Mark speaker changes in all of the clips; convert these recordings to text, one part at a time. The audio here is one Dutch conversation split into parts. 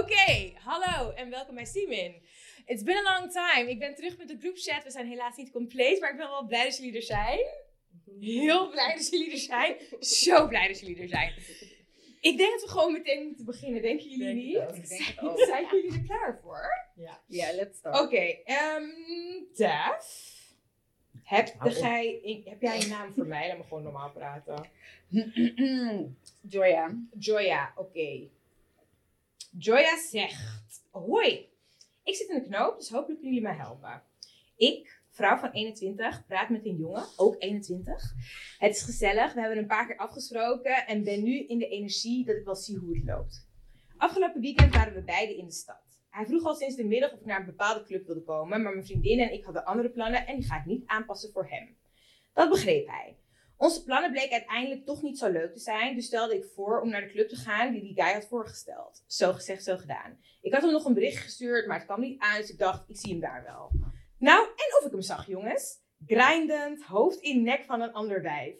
Speaker 1: Oké, hallo en welkom bij Simin. It's been a long time. Ik ben terug met de groupchat. We zijn helaas niet compleet, maar ik ben wel blij dat jullie er zijn. Heel blij dat jullie er zijn. Zo blij dat jullie er zijn. Ik denk dat we gewoon meteen moeten beginnen, denken jullie
Speaker 2: Denk het
Speaker 1: niet?
Speaker 2: ook, ik denk het ook.
Speaker 1: Zijn jullie er klaar voor?
Speaker 2: Ja, let's start.
Speaker 1: Oké, ehm Daf. Heb,
Speaker 2: Hou op.
Speaker 1: jij- ik- heb jij een naam voor mij? Laat me gewoon normaal praten.
Speaker 2: Oh, mm, Joya.
Speaker 1: Joya, oké. Joya zegt: Hoi, ik zit in de knoop, dus hopelijk kunnen jullie mij helpen. Ik, vrouw van 21, praat met een jongen, ook 21. Het is gezellig, we hebben een paar keer afgesproken en ben nu in de energie dat ik wel zie hoe het loopt. Afgelopen weekend waren we beiden in de stad. Hij vroeg al sinds de middag of ik naar een bepaalde club wilde komen, maar mijn vriendin en ik hadden andere plannen en die ga ik niet aanpassen voor hem. Dat begreep hij. Onze plannen bleken uiteindelijk toch niet zo leuk te zijn, dus stelde ik voor om naar de club te gaan die die guy had voorgesteld. Zo gezegd, zo gedaan. Ik had hem nog een bericht gestuurd, maar het kwam niet aan, dus ik dacht, ik zie hem daar wel. Nou, en of ik hem zag, jongens. Grindend, hoofd in nek van een ander wijf.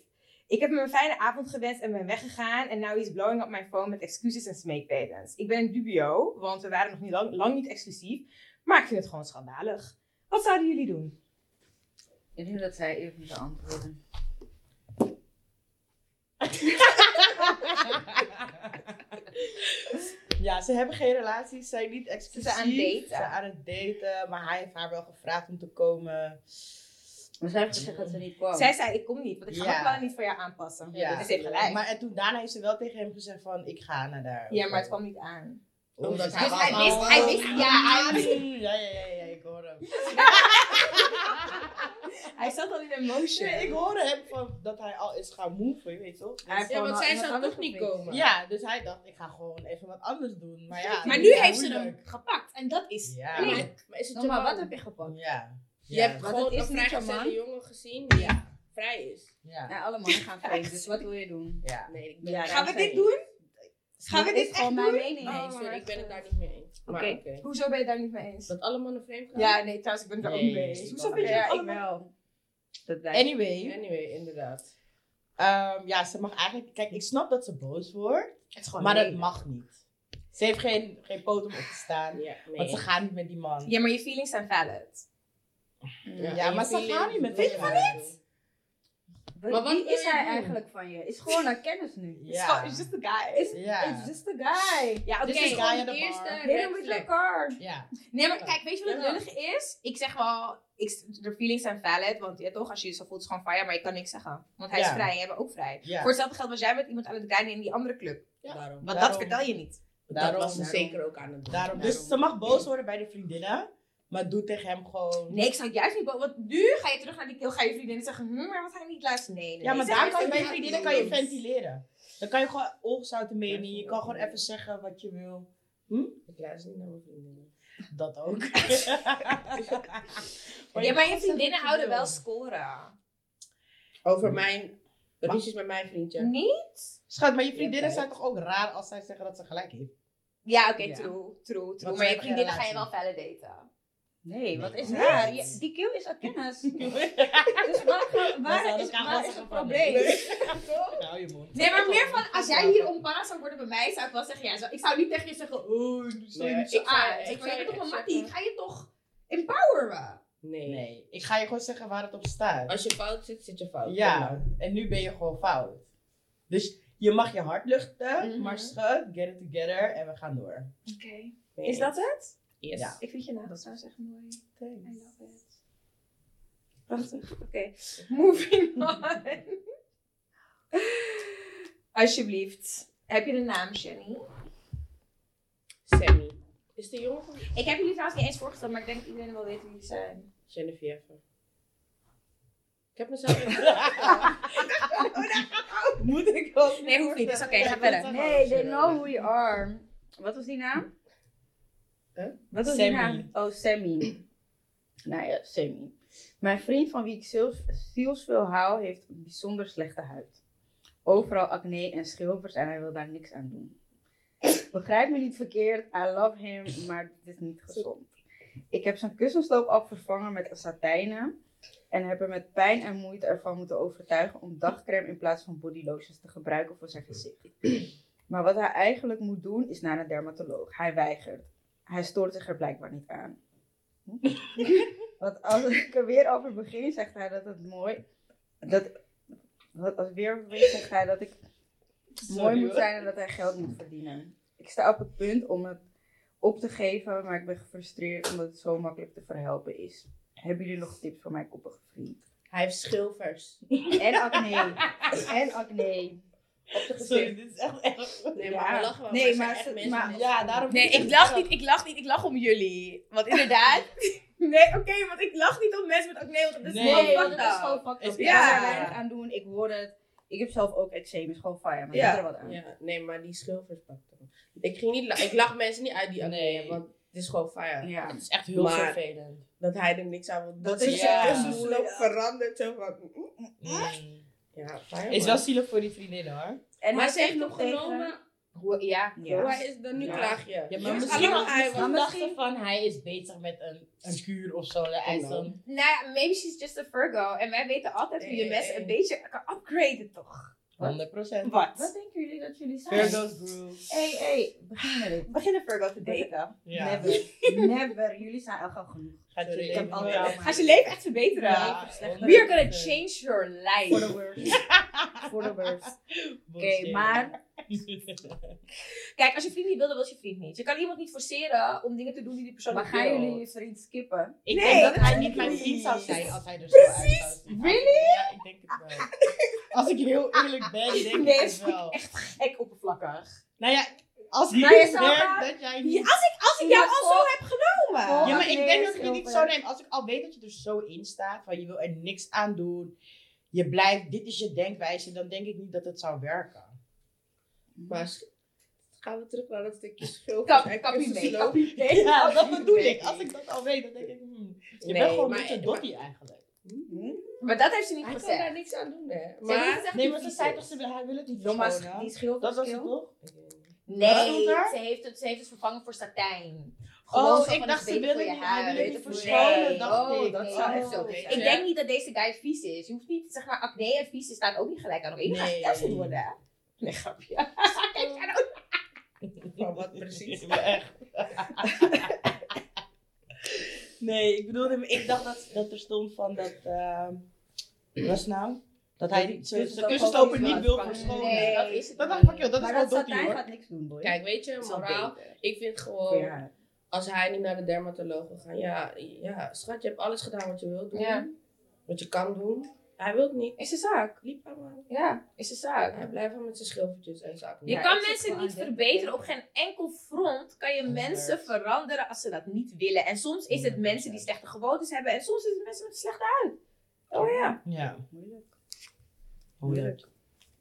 Speaker 1: Ik heb hem een fijne avond gewenst en ben weggegaan. En now he's blowing up my phone met excuses en smeekbedens. Ik ben in dubio, want we waren nog niet lang, lang niet exclusief. Maar ik vind het gewoon schandalig. Wat zouden jullie doen?
Speaker 2: Ik denk dat zij even moet antwoorden.
Speaker 3: Ja, ze hebben geen relatie, ze zijn niet
Speaker 1: Ze
Speaker 3: exclusief.
Speaker 1: zijn aan het daten.
Speaker 3: Ze zijn aan het daten, maar hij heeft haar wel gevraagd om te komen.
Speaker 2: Maar zij heeft gezegd dat ze niet kwam.
Speaker 1: Zij zei, ik kom niet, want ik ga
Speaker 3: Oh. Ja.
Speaker 1: mijn plannen niet voor jou aanpassen.
Speaker 3: Ja.
Speaker 1: Dus ze heeft gelijk.
Speaker 3: Maar en toen daarna heeft ze wel tegen hem gezegd van, ik ga naar daar.
Speaker 1: ja, maar het kwam niet aan.
Speaker 3: Omdat
Speaker 2: Dus hij wist- hij wist- ja, hij
Speaker 3: Ja, ja, ja, ja, ik hoor hem.
Speaker 1: Hij zat al in emotion.
Speaker 3: ik hoor hem van dat hij al is gaan move, je weet toch?
Speaker 1: Hij heeft
Speaker 4: Ja,
Speaker 1: gewoon
Speaker 4: want
Speaker 1: al
Speaker 4: zij
Speaker 1: iemand
Speaker 4: zou
Speaker 1: anders
Speaker 4: toch niet
Speaker 1: geprikt.
Speaker 4: komen.
Speaker 3: Ja, dus hij dacht, ik ga gewoon even wat anders doen. Maar ja,
Speaker 4: Maar
Speaker 3: dat
Speaker 4: nu
Speaker 3: is
Speaker 4: heeft ze
Speaker 3: moeilijk.
Speaker 4: hem gepakt. En dat is
Speaker 3: Ja.
Speaker 4: lelijk. Maar is het
Speaker 2: Nou, maar
Speaker 4: Jamal?
Speaker 2: wat heb je gepakt?
Speaker 3: Ja.
Speaker 4: Je hebt
Speaker 3: Ja,
Speaker 4: gewoon
Speaker 2: het is
Speaker 4: een
Speaker 2: niet
Speaker 4: vrijgezelle
Speaker 2: Jamal.
Speaker 4: jongen gezien die vrij is.
Speaker 3: ja,
Speaker 2: Ja, alle mannen gaan vreemd, dus wat wil je doen?
Speaker 3: ja.
Speaker 4: Nee, ik ben,
Speaker 2: Ja,
Speaker 1: Gaan we dit doen? Gaan we
Speaker 2: Dit
Speaker 1: dit
Speaker 2: is
Speaker 1: echt
Speaker 2: gewoon
Speaker 1: doen?
Speaker 2: mijn mening.
Speaker 4: Nee, Oh, sorry, ik ben het daar niet mee eens. Maar
Speaker 2: eh, Oké.
Speaker 4: Oké.
Speaker 1: Hoezo ben je daar niet mee eens?
Speaker 4: Dat alle mannen vreemd gaan?
Speaker 1: Ja, nee, trouwens, ik ben het daar ook niet mee
Speaker 3: Nee.
Speaker 1: eens. Hoezo vind je
Speaker 2: ja,
Speaker 1: dat
Speaker 2: ik
Speaker 1: allemaal?
Speaker 2: wel. Dat blijft.
Speaker 3: Anyway,
Speaker 4: Anyway, inderdaad.
Speaker 3: ehm, ja, ze mag eigenlijk... Kijk, ik snap dat ze boos wordt.
Speaker 1: Het is gewoon
Speaker 3: Maar dat
Speaker 1: lelijk.
Speaker 3: mag niet. Ze heeft geen, geen poot om op te staan.
Speaker 4: Ja, nee.
Speaker 3: Want ze gaan niet met die man.
Speaker 1: Ja, maar je feelings zijn valid.
Speaker 3: Ja, maar ze gaan niet met- weet je
Speaker 4: van dit?
Speaker 2: Wat-
Speaker 4: Maar wat
Speaker 2: wie
Speaker 4: wil
Speaker 2: is
Speaker 4: je
Speaker 2: hij
Speaker 4: doen?
Speaker 2: eigenlijk van je? Is gewoon naar kennis nu.
Speaker 1: Het is
Speaker 3: Ja.
Speaker 1: gewoon- It's just a guy. It's-
Speaker 3: Ja. Dus
Speaker 2: just a guy.
Speaker 1: Ja, oké.
Speaker 4: Dit is
Speaker 3: guy
Speaker 4: gewoon
Speaker 3: at
Speaker 4: de
Speaker 3: the
Speaker 4: eerste
Speaker 3: bar.
Speaker 2: Hit him
Speaker 4: red
Speaker 2: with
Speaker 4: flag.
Speaker 2: your car.
Speaker 3: Ja.
Speaker 1: Nee, maar kijk, weet je wat het
Speaker 4: Ja.
Speaker 1: lullige is? Ik zeg wel, ik, de feelings zijn valid, want ja, toch, als je je zo voelt, is het gewoon van ja, maar je kan niks zeggen. Want hij is
Speaker 3: Ja.
Speaker 1: vrij, jij bent ook vrij.
Speaker 3: Ja.
Speaker 1: Voor hetzelfde geld was jij met iemand aan het rijden in die andere club.
Speaker 4: Ja. Daarom.
Speaker 1: Want dat
Speaker 3: Daarom.
Speaker 1: vertel je niet.
Speaker 3: Daarom,
Speaker 4: dat was ze
Speaker 3: daarom.
Speaker 4: zeker ook aan het doen.
Speaker 3: Daarom. Dus ze mag boos worden bij de vriendinnen. Maar doe tegen hem gewoon...
Speaker 1: Nee, ik zou het juist niet bo- Want nu ga je terug naar die keel, ga je vriendin zeggen, hm, maar wat hij niet luisteren. Nee, nee,
Speaker 3: Ja, maar
Speaker 1: nee.
Speaker 3: daar kan je,
Speaker 4: Zij
Speaker 3: bij
Speaker 4: heeft
Speaker 3: vriendinnen kan je ventileren. Dan kan je gewoon ongezouten mening. Je kan gewoon even zeggen wat je wil.
Speaker 4: Ik luister niet naar mijn vrienden.
Speaker 3: Dat ook.
Speaker 1: Ja, maar Oh, je
Speaker 3: kan
Speaker 1: vriendinnen
Speaker 3: zeggen wat je
Speaker 1: houden wel
Speaker 3: wil.
Speaker 1: scoren.
Speaker 4: Over mijn... Ruzies met mijn vriendje.
Speaker 1: Niet?
Speaker 3: Schat, maar je vriendinnen
Speaker 4: Ja,
Speaker 3: zijn toch ook raar als zij zeggen dat ze gelijk heeft?
Speaker 1: Ja, oké,
Speaker 3: Ja.
Speaker 1: true, true, true.
Speaker 3: Want
Speaker 1: maar
Speaker 3: zij
Speaker 1: je
Speaker 3: hebben
Speaker 1: vriendinnen
Speaker 3: geen
Speaker 1: ga je wel
Speaker 3: relatie.
Speaker 1: validaten.
Speaker 2: Nee, wat is
Speaker 3: Nee.
Speaker 2: raar? Je- die kill is aan kennis. Dus waar, waar,
Speaker 3: zouden
Speaker 2: is, waar is
Speaker 3: elkaar wel
Speaker 2: het
Speaker 3: zeggen van,
Speaker 2: probleem?
Speaker 3: Hou je mond.
Speaker 1: Nee, maar meer van, als jij hier onparas zou worden bij mij, zou ik wel zeggen, ja, zo- ik zou niet tegen je zeggen, oh, doe zo
Speaker 4: Nee,
Speaker 1: niet zo
Speaker 4: ik zou-
Speaker 1: aan.
Speaker 4: ik
Speaker 1: Ik
Speaker 4: zou
Speaker 1: ben toch
Speaker 4: echt
Speaker 1: een mattie, ik
Speaker 4: zeggen-
Speaker 1: ga je toch empoweren.
Speaker 4: Nee.
Speaker 3: Nee, ik ga je gewoon zeggen waar het op staat.
Speaker 4: Als je fout zit, zit je fout.
Speaker 3: Ja, en nu ben je gewoon fout. Dus je mag je hart luchten,
Speaker 1: Mhm.
Speaker 3: maar schat, get it together en we gaan door.
Speaker 1: Oké.
Speaker 4: Nee.
Speaker 1: Is dat het?
Speaker 4: Yes.
Speaker 3: Ja.
Speaker 1: Ik vind je nou, nagels trouwens echt mooi. I
Speaker 3: Thanks.
Speaker 1: love it. Prachtig. Oké. Moving on. Alsjeblieft. Heb je een naam, Jenny?
Speaker 4: Sammy. Is de jongen van
Speaker 1: Ik heb jullie trouwens niet eens voorgesteld, maar ik denk dat iedereen wel weet wie jullie zijn.
Speaker 4: Genevieve? Ik heb mezelf niet
Speaker 3: Moet ik ook?
Speaker 1: Nee, hoeft niet. Dus oké, ga verder.
Speaker 2: Nee, they know who you are. Wat was die naam?
Speaker 3: Huh?
Speaker 2: Wat was die
Speaker 3: Sammy.
Speaker 2: naam? Oh, Sammy. nou ja, Sammy. Mijn vriend van wie ik ziels- zielsveel hou, heeft een bijzonder slechte huid. Overal acne en schilfers en hij wil daar niks aan doen. Begrijp me niet verkeerd, I love him, maar dit is niet gezond. Ik heb zijn kussensloop al vervangen met een satijnen en heb hem met pijn en moeite ervan moeten overtuigen om dagcrème in plaats van bodylotions te gebruiken voor zijn gezicht. Maar wat hij eigenlijk moet doen is naar een dermatoloog. Hij weigert. Hij stoort zich er blijkbaar niet aan. Hm? Want als ik er weer over begin, zegt hij dat het mooi. Dat, wat als ik weer over begin, zegt hij dat ik mooi moet zijn en dat hij geld moet verdienen. Ik sta op het punt om het op te geven, maar ik ben gefrustreerd omdat het zo makkelijk te verhelpen is. Hebben jullie nog tips voor mijn koppige vriend?
Speaker 4: Hij heeft schilfers.
Speaker 2: En acne. en acne.
Speaker 4: Op de
Speaker 3: Sorry,
Speaker 4: gezicht.
Speaker 3: dit is echt echt.
Speaker 4: Nee, maar
Speaker 2: Ja.
Speaker 4: we lachen wel.
Speaker 2: Nee,
Speaker 4: maar,
Speaker 2: maar
Speaker 4: er zijn
Speaker 2: ze-
Speaker 4: echt mensen
Speaker 2: maar-
Speaker 4: met-
Speaker 3: Ja, daarom.
Speaker 1: Nee, ik lach niet, ik lach niet, ik lach om jullie. Want inderdaad. Nee, oké, want ik lach niet om mensen met acne, want dat is
Speaker 3: Nee,
Speaker 1: gewoon
Speaker 2: dat
Speaker 1: fucked
Speaker 2: is
Speaker 1: up.
Speaker 2: gewoon fucked up.
Speaker 3: Is-
Speaker 2: Ik
Speaker 1: ja.
Speaker 2: kan er weinig aan doen, ik hoor het. Ik heb zelf ook eczeem, is gewoon fire, maar
Speaker 1: Ja.
Speaker 2: ik doe er wat aan.
Speaker 4: Ja, nee, maar die schilfers pakt hem. Ik, ging niet la- ik lach mensen niet uit die acne,
Speaker 3: Nee.
Speaker 4: hebben, want het is gewoon fire.
Speaker 2: Ja.
Speaker 3: Het is echt heel
Speaker 4: Maar-
Speaker 3: vervelend.
Speaker 4: Dat hij er niks aan wil doen.
Speaker 2: Dat
Speaker 4: Dat
Speaker 3: is
Speaker 4: is
Speaker 3: ja.
Speaker 4: echt moeilijk veranderd. Zo van, ja, fire.
Speaker 3: Is wel
Speaker 4: man.
Speaker 3: zielig voor die vriendin hoor.
Speaker 2: En
Speaker 4: maar
Speaker 2: hij
Speaker 4: ze heeft
Speaker 2: zegt
Speaker 4: nog
Speaker 2: tegen-
Speaker 4: genomen.
Speaker 5: Hoe- ja.
Speaker 2: Ja.
Speaker 4: Hoe hij is dan nu
Speaker 2: Ja.
Speaker 4: klaag je.
Speaker 3: Ja,
Speaker 4: Ja,
Speaker 3: maar
Speaker 4: maar
Speaker 3: misschien-
Speaker 5: Dan
Speaker 2: Maar
Speaker 5: dacht ze
Speaker 2: misschien-
Speaker 5: van hij is bezig met een, een kuur of zo. Dat hij is dan,
Speaker 1: Nou ja, maybe she's just a Virgo. En wij weten altijd hoe je
Speaker 4: Nee.
Speaker 1: mensen een beetje kan upgraden, toch?
Speaker 5: 100%.
Speaker 2: Wat
Speaker 1: Wat?
Speaker 2: denken jullie dat jullie zijn?
Speaker 3: Virgo's brew.
Speaker 2: Hé, hé, begin met het.
Speaker 1: Begin een Virgo te daten.
Speaker 3: Ja.
Speaker 2: Never, never. Jullie zijn al gauw genoeg.
Speaker 3: Gaat je
Speaker 4: Sorry,
Speaker 2: Ik heb
Speaker 3: leven
Speaker 2: altijd
Speaker 3: wel.
Speaker 2: al mijn-
Speaker 1: Ga je leven echt verbeteren.
Speaker 3: Ja.
Speaker 1: We are gonna change your
Speaker 2: For
Speaker 1: life.
Speaker 2: the worst. For the worst. Oké,
Speaker 3: Bullshit.
Speaker 2: maar
Speaker 1: Kijk, als je vriend niet wil, dan wil je vriend niet. Je kan iemand niet forceren om dingen te doen die die persoon
Speaker 2: maar
Speaker 1: niet
Speaker 2: gaan
Speaker 1: wil.
Speaker 2: jullie je vriend skippen?
Speaker 5: Ik
Speaker 1: Nee,
Speaker 5: denk dat
Speaker 1: dat
Speaker 5: hij
Speaker 1: is
Speaker 5: niet mijn
Speaker 1: niet.
Speaker 5: vriend zou zijn als hij dus er zo uit zou zien.
Speaker 3: Really? Ja, ik denk het wel. Als ik heel eerlijk ben, denk
Speaker 1: Nee,
Speaker 3: ik
Speaker 1: dat
Speaker 3: het
Speaker 1: vind ik
Speaker 3: wel.
Speaker 1: Gek oppervlakkig.
Speaker 3: Nou ja, als ik
Speaker 2: Maar je zou
Speaker 3: merk
Speaker 2: gaan-
Speaker 3: dat jij
Speaker 1: Ja,
Speaker 3: niet...
Speaker 1: als ik, als ik jou al zo heb
Speaker 2: Oh,
Speaker 1: genomen.
Speaker 3: Ja, maar ik denk
Speaker 2: nee,
Speaker 3: dat ik het niet zo
Speaker 2: schilfer.
Speaker 3: neem. Als ik al weet dat je er zo in staat, van je wil er niks aan doen, je blijft, dit is je denkwijze, dan denk ik niet dat het zou werken.
Speaker 4: Maar sch- gaan we terug naar dat stukje schilfers.
Speaker 1: Kap,
Speaker 4: en
Speaker 1: kappie mee,
Speaker 4: kussensloop.
Speaker 1: kappie mee.
Speaker 3: Ja, dat bedoel ik. Als ik dat al weet, dan denk ik, hmm, je
Speaker 4: Nee,
Speaker 3: bent gewoon
Speaker 4: maar-
Speaker 3: een beetje
Speaker 4: maar-
Speaker 3: dottie eigenlijk.
Speaker 1: Maar dat heeft ze niet
Speaker 4: Hij kan
Speaker 1: gezegd.
Speaker 4: daar niks aan doen, hè.
Speaker 1: Ze heeft niet
Speaker 4: Maar...
Speaker 1: gezegd
Speaker 3: Nee,
Speaker 1: wie
Speaker 3: maar ze
Speaker 1: vies
Speaker 3: zei
Speaker 1: is.
Speaker 3: toch, ze wil, hij wil het niet
Speaker 1: Jongens,
Speaker 3: schoon, hè?
Speaker 1: die schildert
Speaker 3: Oh, nou. Dat was het toch? Wat
Speaker 1: Nee,
Speaker 3: stond er?
Speaker 1: ze heeft, het, ze heeft het vervangen voor satijn. Gewoon
Speaker 3: Oh,
Speaker 1: zo
Speaker 3: ik
Speaker 1: van,
Speaker 3: dacht
Speaker 1: het
Speaker 3: ze
Speaker 1: is beter
Speaker 3: wil
Speaker 1: voor
Speaker 3: het
Speaker 1: je
Speaker 3: niet, hij wil
Speaker 1: huid.
Speaker 3: het niet
Speaker 1: Nee.
Speaker 3: verschonen, dacht
Speaker 1: Oh,
Speaker 3: ik.
Speaker 1: dat zou
Speaker 3: Oh,
Speaker 1: echt zo
Speaker 3: oké.
Speaker 1: zijn. Ik denk niet dat deze guy vies is. Je hoeft niet, zeg maar, acne en vies staan ook niet gelijk aan. Op één gaat
Speaker 3: Nee.
Speaker 1: getest worden. Nee, grapje. Kijk, en ook-
Speaker 4: Van wat precies?
Speaker 3: Maar echt. nee, ik bedoelde, ik dacht dat, dat er stond van dat, ehm wat was het nou? Dat hij die- ze- ze kussensloper niet wil verschonen.
Speaker 1: Nee,
Speaker 3: Dat-
Speaker 1: dat is het
Speaker 3: Dat dacht
Speaker 1: niet.
Speaker 3: ik, joh, dat is
Speaker 2: maar
Speaker 3: wel
Speaker 2: dat
Speaker 3: dottie
Speaker 2: satijn
Speaker 3: hoor.
Speaker 2: gaat niks doen, boy.
Speaker 4: Kijk, weet je,
Speaker 2: Dat is wel
Speaker 4: moraal.
Speaker 2: beter
Speaker 4: Ik vind
Speaker 2: voor je
Speaker 4: gewoon...
Speaker 1: Oh.
Speaker 2: haar.
Speaker 4: als hij niet naar de dermatoloog wil gaan. Ja, ja, schat, je hebt alles gedaan wat je wilt doen.
Speaker 1: Ja.
Speaker 4: Wat je kan doen. Hij wil het niet.
Speaker 1: Is de zaak.
Speaker 4: Liep aan maar.
Speaker 1: Ja, is de
Speaker 4: Hij
Speaker 1: zaak.
Speaker 4: blijft maar met zijn schilfertjes en zijn acne.
Speaker 1: Je
Speaker 2: Ja,
Speaker 1: kan
Speaker 2: ik zit
Speaker 1: mensen
Speaker 2: wel
Speaker 1: niet
Speaker 2: aan dit
Speaker 1: verbeteren.
Speaker 2: denken.
Speaker 1: Op geen enkel front kan je mensen veranderen als ze dat niet willen. En soms is het mensen die slechte gewoontes hebben. En soms is het mensen met slechte huid. Oh ja.
Speaker 3: Ja,
Speaker 2: Moeilijk.
Speaker 3: hoe
Speaker 2: Moeilijk.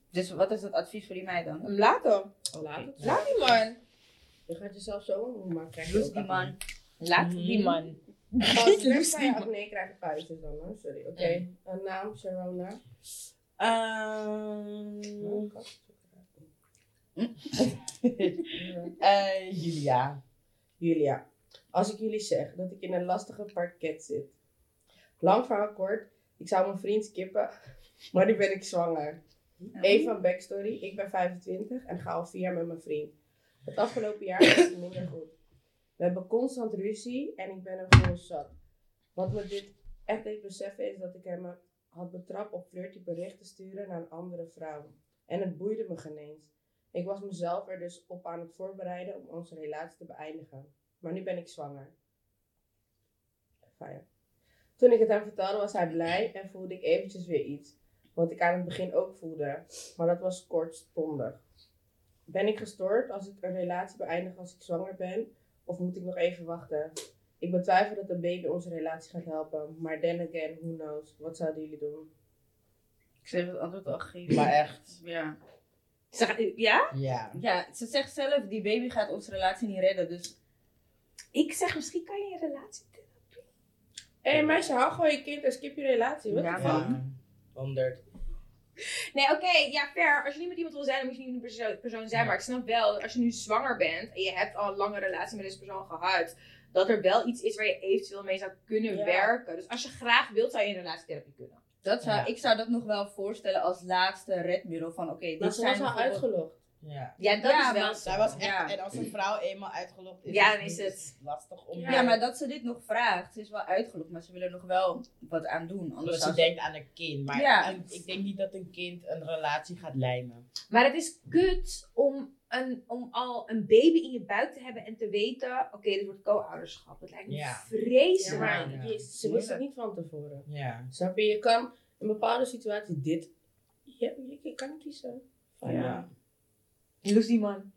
Speaker 2: Dus wat is het advies voor die mij dan?
Speaker 1: Hem laten.
Speaker 4: Laat het.
Speaker 1: Laat die man.
Speaker 4: Je gaat jezelf zo omhoog maken. Krijg je
Speaker 2: Doe
Speaker 4: ook
Speaker 2: die
Speaker 4: acne.
Speaker 2: man.
Speaker 1: Laat die man.
Speaker 4: Als je weg van je acne krijg je puistjes dan. Hoor. Sorry, oké. Een naam, Sharona.
Speaker 2: Mm.
Speaker 3: Ehm,
Speaker 4: Oh, kat.
Speaker 3: eh, Julia.
Speaker 4: Julia, als ik jullie zeg dat ik in een lastige parket zit. Lang verhaal kort, ik zou mijn vriend skippen, maar nu ben ik zwanger. Even een backstory. Ik ben 25 en ga al vier jaar met mijn vriend. Het afgelopen jaar was het minder goed. We hebben constant ruzie en ik ben hem gewoon zat. Wat me dit echt deed beseffen is dat ik hem had betrapt op flirty berichten sturen naar een andere vrouw. En het boeide me geen eens. Ik was mezelf er dus op aan het voorbereiden om onze relatie te beëindigen. Maar nu ben ik zwanger. Fijn. Toen ik het hem vertelde was hij blij en voelde ik eventjes weer iets. Wat ik aan het begin ook voelde. Maar dat was kortstondig. Ben ik gestoord als ik een relatie beëindig als ik zwanger ben? Of moet ik nog even wachten? Ik betwijfel dat een baby onze relatie gaat helpen. Maar then again, who knows? Wat zouden jullie doen?
Speaker 2: Ik zeg het antwoord al
Speaker 3: Maar
Speaker 2: gegeven.
Speaker 3: echt,
Speaker 2: Ja.
Speaker 1: Ja?
Speaker 3: ja.
Speaker 2: ja, ze zegt zelf, die baby gaat onze relatie niet redden, dus...
Speaker 1: Ik zeg, misschien kan je een relatie
Speaker 4: Hé hey, meisje, hou gewoon je kind en skip je relatie. Wat
Speaker 2: Ja,
Speaker 4: de
Speaker 2: man.
Speaker 4: fuck?
Speaker 3: Ja. 100.
Speaker 1: Nee, oké, ja, fair. Als je niet met iemand wil zijn, dan moet je niet met een perso- persoon zijn. Maar ik snap wel, dat als je nu zwanger bent en je hebt al een lange relatie met deze persoon gehad, dat er wel iets is waar je eventueel mee zou kunnen
Speaker 4: Ja.
Speaker 1: werken. Dus als je graag wilt, zou je in relatietherapie kunnen.
Speaker 2: Dat zou,
Speaker 3: Ja.
Speaker 2: Ik zou dat nog wel voorstellen als laatste redmiddel. Van oké, dit
Speaker 4: Maar ze was
Speaker 2: zijn
Speaker 4: al
Speaker 2: bijvoorbeeld-
Speaker 4: uitgelogd.
Speaker 3: Ja.
Speaker 1: Ja, dat
Speaker 2: Ja,
Speaker 1: is wel
Speaker 2: maar-
Speaker 1: zo.
Speaker 3: Zij was echt,
Speaker 2: Ja.
Speaker 3: en als een vrouw eenmaal uitgelokt is,
Speaker 1: Ja,
Speaker 3: het
Speaker 1: dan is
Speaker 3: niet-
Speaker 1: het-
Speaker 3: lastig om.
Speaker 2: Ja, maar dat ze dit nog vraagt, ze is wel uitgelokt, maar ze willen nog wel wat aan doen. Anders
Speaker 3: Omdat
Speaker 2: zou
Speaker 3: ze
Speaker 2: ze-
Speaker 3: denkt aan een kind. Maar
Speaker 2: Ja.
Speaker 3: een- ik denk niet dat een kind een relatie gaat lijmen.
Speaker 1: Maar het is kut om, een, om al een baby in je buik te hebben en te weten, oké, dit wordt co-ouderschap. Dat lijkt me
Speaker 3: Ja.
Speaker 4: Ja,
Speaker 1: vreselijk.
Speaker 4: maar
Speaker 3: Ja.
Speaker 4: je- ze wist het niet van tevoren.
Speaker 3: Ja.
Speaker 4: Snap je? Je kan in bepaalde situaties dit... Je, je kan kiezen. Van,
Speaker 3: Ja.
Speaker 1: Loes die man.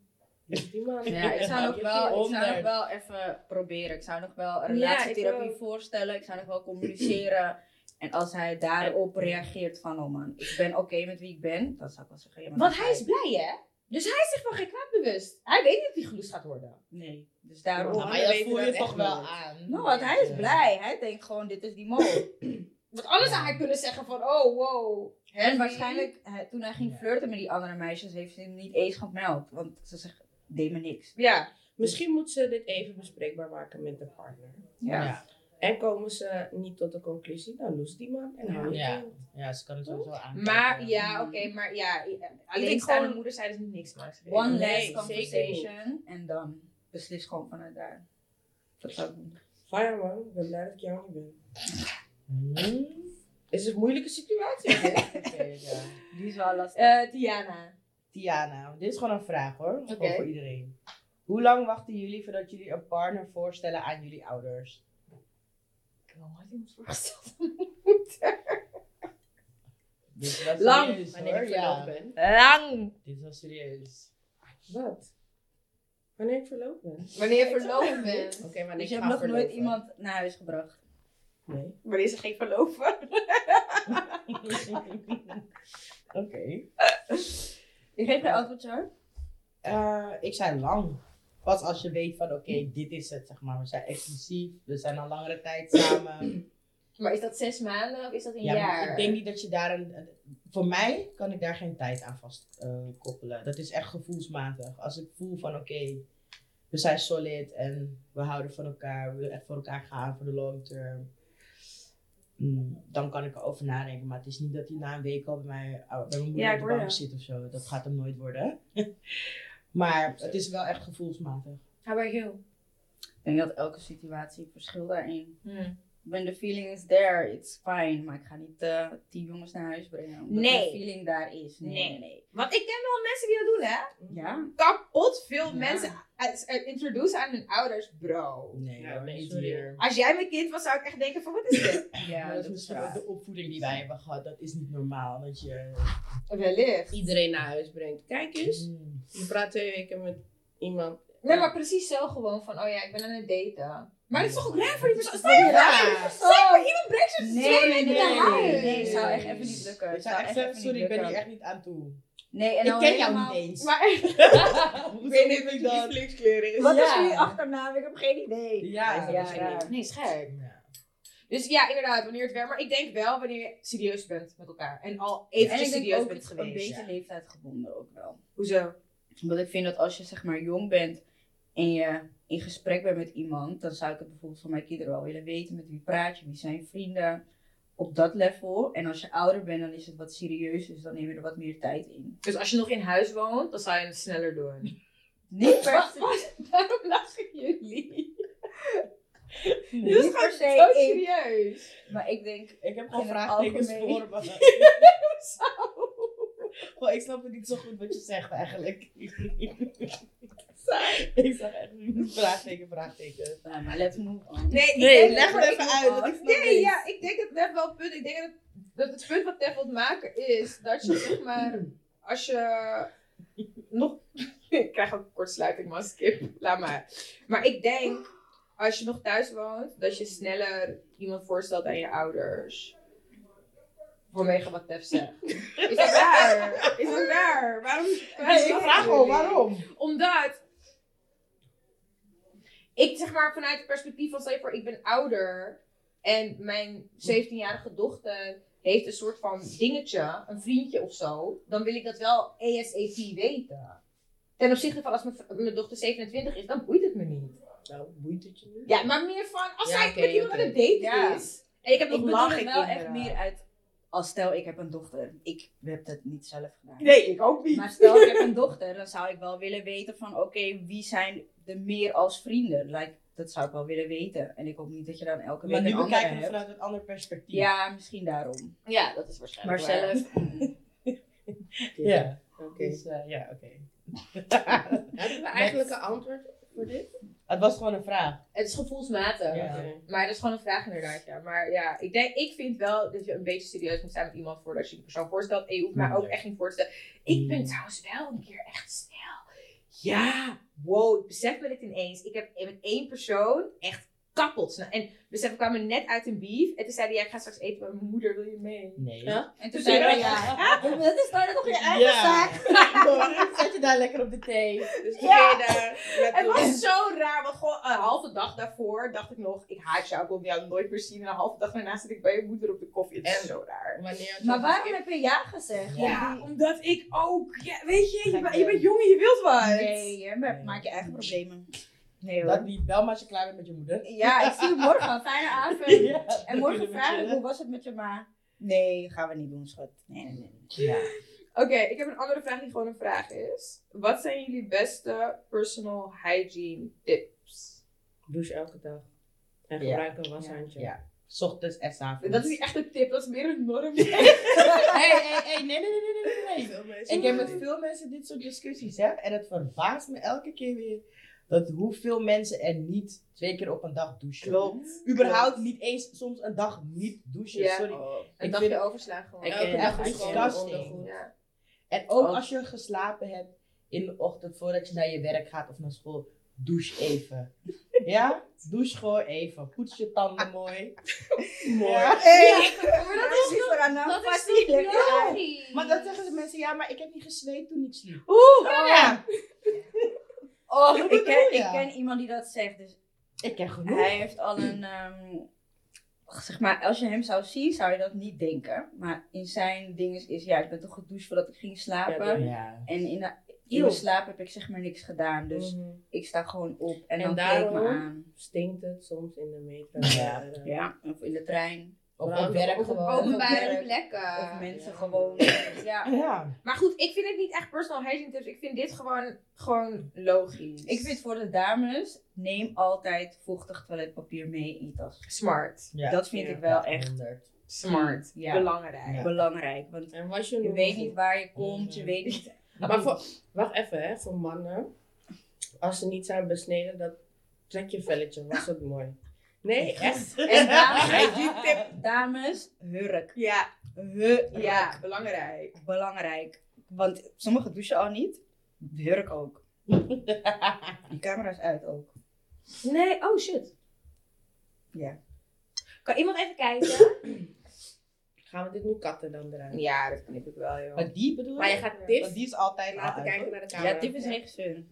Speaker 4: is die man.
Speaker 2: Ja, ik zou nog
Speaker 3: Je
Speaker 2: wel, ik zou nog
Speaker 3: honderd.
Speaker 2: wel even proberen. Ik zou nog wel een
Speaker 1: Ja, ik
Speaker 2: relatietherapie
Speaker 1: ook.
Speaker 2: voorstellen. Ik zou nog wel communiceren. En als hij daarop reageert van, oh man, ik ben oké met wie ik ben, dan zou ik wel zeggen, ja, maar
Speaker 1: Want
Speaker 2: dan
Speaker 1: hij
Speaker 2: ga
Speaker 1: is
Speaker 2: ik-
Speaker 1: blij, hè? Dus hij is zich van geen kwaad bewust. Hij weet dat hij geloest gaat worden.
Speaker 2: Nee, dus daarom...
Speaker 4: Ja,
Speaker 3: Nou, maar
Speaker 4: we
Speaker 3: dat
Speaker 4: weten
Speaker 3: voel je
Speaker 4: dat
Speaker 3: toch
Speaker 4: echt
Speaker 3: wel
Speaker 4: nooit.
Speaker 3: aan.
Speaker 2: Nou, want hij is
Speaker 3: Ja.
Speaker 2: blij. Hij denkt gewoon, dit is die mo.
Speaker 1: Want anders
Speaker 3: Ja.
Speaker 1: zou hij kunnen zeggen van, oh, wow.
Speaker 2: En
Speaker 1: heavy.
Speaker 2: waarschijnlijk, hij- toen hij ging flirten met die andere meisjes, heeft ze hem niet eens gemeld. Want ze zegt, deed me niks.
Speaker 1: Ja.
Speaker 4: Misschien moet ze dit even bespreekbaar maken met de partner.
Speaker 3: Ja.
Speaker 2: Ja.
Speaker 3: Ja.
Speaker 4: En komen ze niet tot de conclusie, dan loes die man en hou je
Speaker 3: Ja.
Speaker 4: kind.
Speaker 3: ze kan het sowieso aan.
Speaker 1: Maar, ja, oké, maar ja. eh, Alleen
Speaker 2: gewoon-
Speaker 1: staande moeder zei dus niks, maar.
Speaker 2: One
Speaker 4: Nee,
Speaker 2: last
Speaker 4: zeker
Speaker 2: conversation. En dan beslis gewoon vanuit daar. Dat zou ik doen.
Speaker 4: Fire man, ik ben blij dat ik jou niet ben.
Speaker 3: Hmm?
Speaker 4: Is het een moeilijke situatie? hè?
Speaker 2: Die is wel lastig.
Speaker 1: Eh, Tiana.
Speaker 3: Tiana, dit is gewoon een vraag hoor. Gewoon
Speaker 1: Oké.
Speaker 3: voor iedereen. Hoe lang wachten jullie voordat jullie een partner voorstellen aan jullie ouders?
Speaker 1: Ik heb nog nooit iemand voorgesteld.
Speaker 3: Dit is wel
Speaker 1: Lang,
Speaker 3: serieus,
Speaker 4: Wanneer ik
Speaker 3: hoor.
Speaker 4: verloofd
Speaker 3: Ja,
Speaker 4: ben.
Speaker 1: Lang.
Speaker 3: dit is wel serieus.
Speaker 4: Wat? Wanneer ik verloofd ben? Oké,
Speaker 1: Wanneer je verloofd bent.
Speaker 4: wanneer
Speaker 2: dus
Speaker 4: ik
Speaker 2: je hebt
Speaker 4: ga
Speaker 2: nog nooit
Speaker 4: verloven.
Speaker 2: iemand naar huis gebracht.
Speaker 4: Nee.
Speaker 1: Wanneer ze geen verloven.
Speaker 3: Oké.
Speaker 2: Je geeft geen antwoord, Char?
Speaker 3: Eh, ik zei lang. Pas als je weet van oké, dit is het zeg maar. We zijn exclusief, we zijn al langere tijd samen.
Speaker 1: Maar is dat zes maanden of is dat een
Speaker 3: ja,
Speaker 1: jaar?
Speaker 3: maar ik denk niet dat je daar een... een- Voor mij kan ik daar geen tijd aan vast eh, koppelen. Dat is echt gevoelsmatig. Als ik voel van oké, we zijn solid en we houden van elkaar. We willen echt voor elkaar gaan voor de long term. mm, dan kan ik erover nadenken. Maar het is niet dat hij na een week al bij, mij, oh, bij mijn moeder
Speaker 1: Ja,
Speaker 3: op
Speaker 1: ik
Speaker 3: de
Speaker 1: hoor
Speaker 3: bank
Speaker 1: je.
Speaker 3: zit of zo. Dat gaat hem nooit worden. maar het is wel echt gevoelsmatig.
Speaker 1: How about you?
Speaker 2: Ik denk dat elke situatie verschil daarin. When the feeling is there, it's fine. Maar ik ga niet eh tien jongens naar huis brengen. Omdat
Speaker 1: Nee.
Speaker 2: de feeling daar is. Nee,
Speaker 1: Nee.
Speaker 2: nee, nee.
Speaker 1: Want ik ken wel mensen die dat doen, hè?
Speaker 2: Ja.
Speaker 1: Kapot veel
Speaker 2: Ja.
Speaker 1: mensen uit- uit- introducen aan hun ouders, bro.
Speaker 3: Nee,
Speaker 4: Ja,
Speaker 3: hoor,
Speaker 4: nee,
Speaker 3: niet
Speaker 4: sorry.
Speaker 3: hier.
Speaker 1: Als jij mijn kind was, zou ik echt denken van, wat is dit?
Speaker 2: Ja,
Speaker 3: Maar dat is misschien ook
Speaker 2: waar.
Speaker 3: de opvoeding die wij hebben gehad. Dat is niet normaal. Dat je...
Speaker 1: Wellicht.
Speaker 4: Iedereen naar huis brengt. Kijk eens.
Speaker 3: Mm.
Speaker 4: Je praat twee weken met iemand.
Speaker 1: Nee, maar precies zo gewoon van, oh ja, ik ben aan het daten. Maar dat is toch ook raar voor die persoon? Stel je
Speaker 3: Ja.
Speaker 1: voor, Oh. stel je voor, iemand brengt ze twee
Speaker 2: nee,
Speaker 1: weken
Speaker 2: nee,
Speaker 1: naar huis.
Speaker 2: nee, nee, zou echt even niet lukken. Zou
Speaker 3: Ik zou Eh, echt
Speaker 2: echt
Speaker 3: zeggen,
Speaker 2: even
Speaker 3: sorry,
Speaker 2: niet
Speaker 3: ik ben hier
Speaker 2: lukken.
Speaker 3: echt niet aan toe.
Speaker 2: Nee, en
Speaker 3: ik
Speaker 2: dan
Speaker 3: ken jou
Speaker 2: helemaal-
Speaker 3: niet eens.
Speaker 1: Maar
Speaker 3: Hoezo
Speaker 4: Ik weet niet
Speaker 3: moet
Speaker 4: wat
Speaker 3: ik
Speaker 4: je
Speaker 3: dat?
Speaker 4: lievelingskleur is.
Speaker 2: Wat is
Speaker 1: Ja.
Speaker 2: jullie achternaam? Ik heb geen idee.
Speaker 3: Ja,
Speaker 2: Ja,
Speaker 3: dat is
Speaker 2: ja.
Speaker 3: ook niet.
Speaker 1: Nee, scherp.
Speaker 3: Ja.
Speaker 1: Dus ja, inderdaad, wanneer het werkt. Maar ik denk wel wanneer je serieus bent met elkaar. En al eventjes
Speaker 2: en ik denk
Speaker 1: serieus
Speaker 2: ook
Speaker 1: bent
Speaker 2: het een
Speaker 1: geweest.
Speaker 2: beetje leeftijdgebonden ook wel.
Speaker 1: Hoezo?
Speaker 2: Omdat ik vind dat als je zeg maar jong bent en je in gesprek bent met iemand, dan zou ik het bijvoorbeeld van mijn kinderen wel willen weten. Met wie praat je, wie zijn je vrienden, op dat level. En als je ouder bent, dan is het wat serieus, dus dan neem je er wat meer tijd in.
Speaker 1: Dus als je nog in huis woont, dan zou je het sneller doen.
Speaker 2: Niet per se,
Speaker 1: Waarom lachen jullie?
Speaker 2: niet per
Speaker 1: Zo
Speaker 2: se ik,
Speaker 1: serieus.
Speaker 2: maar ik denk,
Speaker 3: Ik heb gewoon
Speaker 2: In het
Speaker 3: vraagtekens
Speaker 2: algemeen.
Speaker 3: voor me. Goh, ik snap het niet zo goed wat je zegt eigenlijk. ik zag echt vraagteken, vraagteken.
Speaker 2: nou, maar let's move on.
Speaker 1: Nee, ik
Speaker 3: Nee,
Speaker 1: denk-
Speaker 3: leg het
Speaker 1: ik-
Speaker 3: even uit, want ik snap
Speaker 1: Nee,
Speaker 3: niks.
Speaker 1: ja, ik denk dat Tef wel het punt. Ik denk dat, dat het punt wat Tef wilt maken is dat je zeg maar, als je nog. ik krijg ook een kortsluiting, man, skip. Laat maar. Maar ik denk, als je nog thuis woont, dat je sneller iemand voorstelt aan je ouders. Vanwege wat Tef zegt. Is dat waar? Is dat waar? Waarom? waarom
Speaker 3: ik
Speaker 1: lachen
Speaker 3: vraag gewoon
Speaker 1: jullie?
Speaker 3: waarom.
Speaker 1: Omdat ik zeg maar vanuit het perspectief van stel je voor, ik ben ouder en mijn 17-jarige dochter heeft een soort van dingetje, een vriendje of zo, dan wil ik dat wel ASAP weten. Ten opzichte van als mijn, v- mijn dochter 27 is, dan boeit het me niet.
Speaker 4: Nou, boeit het je niet?
Speaker 1: Ja, maar meer van als
Speaker 4: Ja,
Speaker 1: zij
Speaker 4: oké,
Speaker 1: met iemand
Speaker 4: oké.
Speaker 1: aan het daten
Speaker 2: Ja.
Speaker 1: is. En ik heb
Speaker 2: Ik
Speaker 1: nog
Speaker 2: bedoel
Speaker 1: lachen
Speaker 2: het wel echt
Speaker 1: kinderen.
Speaker 2: meer uit als stel ik heb een dochter. Ik heb dat niet zelf gedaan.
Speaker 4: Nee, ik ook niet.
Speaker 2: Maar stel ik heb een dochter, dan zou ik wel willen weten van oké, wie zijn er meer als vrienden? Like, dat zou ik wel willen weten. En ik hoop niet dat je dan elke
Speaker 3: Maar
Speaker 2: week
Speaker 3: nu
Speaker 2: een andere
Speaker 3: bekijken we het
Speaker 2: hebt.
Speaker 3: vanuit een ander perspectief.
Speaker 2: Ja, misschien daarom.
Speaker 1: Ja, dat is
Speaker 2: Maar
Speaker 1: waarschijnlijk waar.
Speaker 2: zelf,
Speaker 3: Ja,
Speaker 4: Oké.
Speaker 3: dus, eh, ja, oké.
Speaker 4: Hebben we eigenlijk een antwoord voor dit?
Speaker 3: Het was gewoon een vraag.
Speaker 1: Het is gevoelsmatig.
Speaker 3: Ja.
Speaker 4: Oké.
Speaker 1: Maar dat is gewoon een vraag inderdaad, ja. Maar ja, ik, denk, ik vind wel dat je een beetje serieus moet zijn met iemand voordat je die persoon voorstelt. En je hoeft mij ook echt niet voor te stellen. Ik ben trouwens wel een keer echt snel. Ja, wow, ik besef me dit ineens. Ik heb met één persoon echt kappeld snel. En besef, we kwamen net uit een beef. En toen zei hij, ja, ik ga straks eten met mijn moeder, wil je mee?
Speaker 3: Nee.
Speaker 1: Ja.
Speaker 2: en toen zei ik, ja, dat is nou toch je eigen zaak.
Speaker 3: Zet je daar lekker op de thee.
Speaker 4: Dus die
Speaker 1: Ja.
Speaker 4: ga je daar met
Speaker 1: Het
Speaker 4: doen.
Speaker 1: was zo raar, want gewoon een halve dag daarvoor dacht ik nog, ik haat jou, ik wil jou nooit meer zien. En een halve dag daarna zit ik bij je moeder op de koffie. Het is
Speaker 4: En-
Speaker 1: zo raar.
Speaker 4: Wanneer
Speaker 2: Maar waarom heb je ja gezegd?
Speaker 1: Ja, omdat ik ook. Ja, weet je, je,
Speaker 3: Gek
Speaker 1: bent- je
Speaker 3: ben.
Speaker 1: bent jong en je wilt wat.
Speaker 2: Nee, je ma-
Speaker 3: Nee.
Speaker 2: maakt je eigen problemen. Nee hoor.
Speaker 3: Dat niet. Wel maar als je klaar bent met je moeder.
Speaker 2: Ja, ik zie je morgen. Fijne avond. En morgen vraag ik, hoe was het met je ma? Nee, gaan we niet doen, schat. Nee, nee, nee.
Speaker 3: Ja.
Speaker 1: Oké, ik heb een andere vraag die gewoon een vraag is. Wat zijn jullie beste personal hygiene tips?
Speaker 4: Douche elke dag. En
Speaker 3: Ja.
Speaker 4: gebruik een washandje.
Speaker 3: Ja. 's Ochtends en 's avonds.
Speaker 1: Dat is niet echt een tip, dat is meer een norm.
Speaker 3: hey, hey, hey, nee, nee, nee, nee, nee, nee, nee.
Speaker 4: Veel mensen-
Speaker 3: Ik heb met veel mensen dit soort discussies, hè. En het verbaast me elke keer weer dat hoeveel mensen er niet twee keer op een dag douchen.
Speaker 4: Klopt.
Speaker 3: Überhaupt niet eens soms een dag niet douchen.
Speaker 1: Ja.
Speaker 3: Sorry.
Speaker 1: Een
Speaker 3: Ik
Speaker 1: dagje
Speaker 3: vind-
Speaker 1: overslaan gewoon.
Speaker 4: Ik
Speaker 3: Elke
Speaker 4: ken
Speaker 3: dag
Speaker 4: echt
Speaker 3: is
Speaker 4: gewoon
Speaker 3: disgusting.
Speaker 4: ondergoed.
Speaker 1: Ja.
Speaker 3: En ook
Speaker 4: Ook.
Speaker 3: als je geslapen hebt in de ochtend voordat je naar je werk gaat of naar school, douche even. ja? Douche gewoon even. Poets je tanden mooi. mooi.
Speaker 1: Maar dat is
Speaker 2: super aan
Speaker 1: dat is
Speaker 2: passie.
Speaker 3: Maar dan zeggen ze mensen, ja, maar ik heb niet gezweet toen ik sliep.
Speaker 1: Oeh,
Speaker 3: Ja,
Speaker 2: Oh,
Speaker 3: Wat
Speaker 2: ik
Speaker 3: bedoel
Speaker 2: ken,
Speaker 3: je?
Speaker 2: ik ken iemand die dat zegt. Dus
Speaker 3: ik heb genoeg.
Speaker 2: hij heeft al een. ehm, zeg maar, als je hem zou zien, zou je dat niet denken. Maar in zijn ding is, is ja, ik ben toch gedoucht voordat ik ging slapen.
Speaker 4: Ja,
Speaker 3: Ja.
Speaker 2: en in, de, in mijn slaap heb ik zeg maar niks gedaan. Dus
Speaker 4: Mhm.
Speaker 2: ik sta gewoon op en,
Speaker 4: En
Speaker 2: dan
Speaker 4: daarom-
Speaker 2: kleed ik me aan.
Speaker 4: Stinkt het soms in de metro.
Speaker 3: Ja.
Speaker 4: Eh,
Speaker 2: Ja, of in de trein.
Speaker 3: Of op
Speaker 4: Vooral
Speaker 3: werk
Speaker 4: op-
Speaker 3: gewoon.
Speaker 2: op-
Speaker 1: openbare
Speaker 2: Werk.
Speaker 1: plekken.
Speaker 2: of mensen
Speaker 4: ja.
Speaker 2: gewoon. Ja.
Speaker 3: Ja.
Speaker 1: Maar goed, ik vind het niet echt personal hygiene tips. Ik vind dit gewoon, gewoon logisch.
Speaker 2: Ik vind voor de dames, neem altijd vochtig toiletpapier mee in je tas.
Speaker 1: smart.
Speaker 3: ja.
Speaker 2: dat vind
Speaker 4: Ja,
Speaker 2: ik wel echt
Speaker 1: Smart.
Speaker 2: Ja.
Speaker 1: Belangrijk.
Speaker 3: Ja.
Speaker 2: belangrijk. Want
Speaker 4: En was je
Speaker 2: je
Speaker 4: nog-
Speaker 2: weet niet waar je komt, je
Speaker 3: Mhm.
Speaker 2: weet niet.
Speaker 4: Maar voor, wacht even, hè, voor mannen. Als ze niet zijn besneden, dat trek je velletje. Was dat mooi? Nee, echt.
Speaker 2: En
Speaker 4: Hey,
Speaker 2: dames,
Speaker 4: die tip.
Speaker 2: dames hurk.
Speaker 1: Ja,
Speaker 2: Hurk.
Speaker 1: ja, belangrijk.
Speaker 2: Belangrijk. Want sommigen douchen al niet, hurk ook. Die camera is uit ook.
Speaker 1: Nee, oh shit.
Speaker 2: Ja.
Speaker 1: Kan iemand even kijken?
Speaker 4: Gaan we dit nu katten dan eruit?
Speaker 1: ja, dat knip ik wel, joh.
Speaker 3: Maar die bedoel
Speaker 4: Maar je
Speaker 3: je?
Speaker 4: gaat
Speaker 3: Want
Speaker 4: dit
Speaker 3: die is altijd
Speaker 4: laten
Speaker 3: al uit.
Speaker 4: kijken naar de camera.
Speaker 2: Ja, tip is regisseur.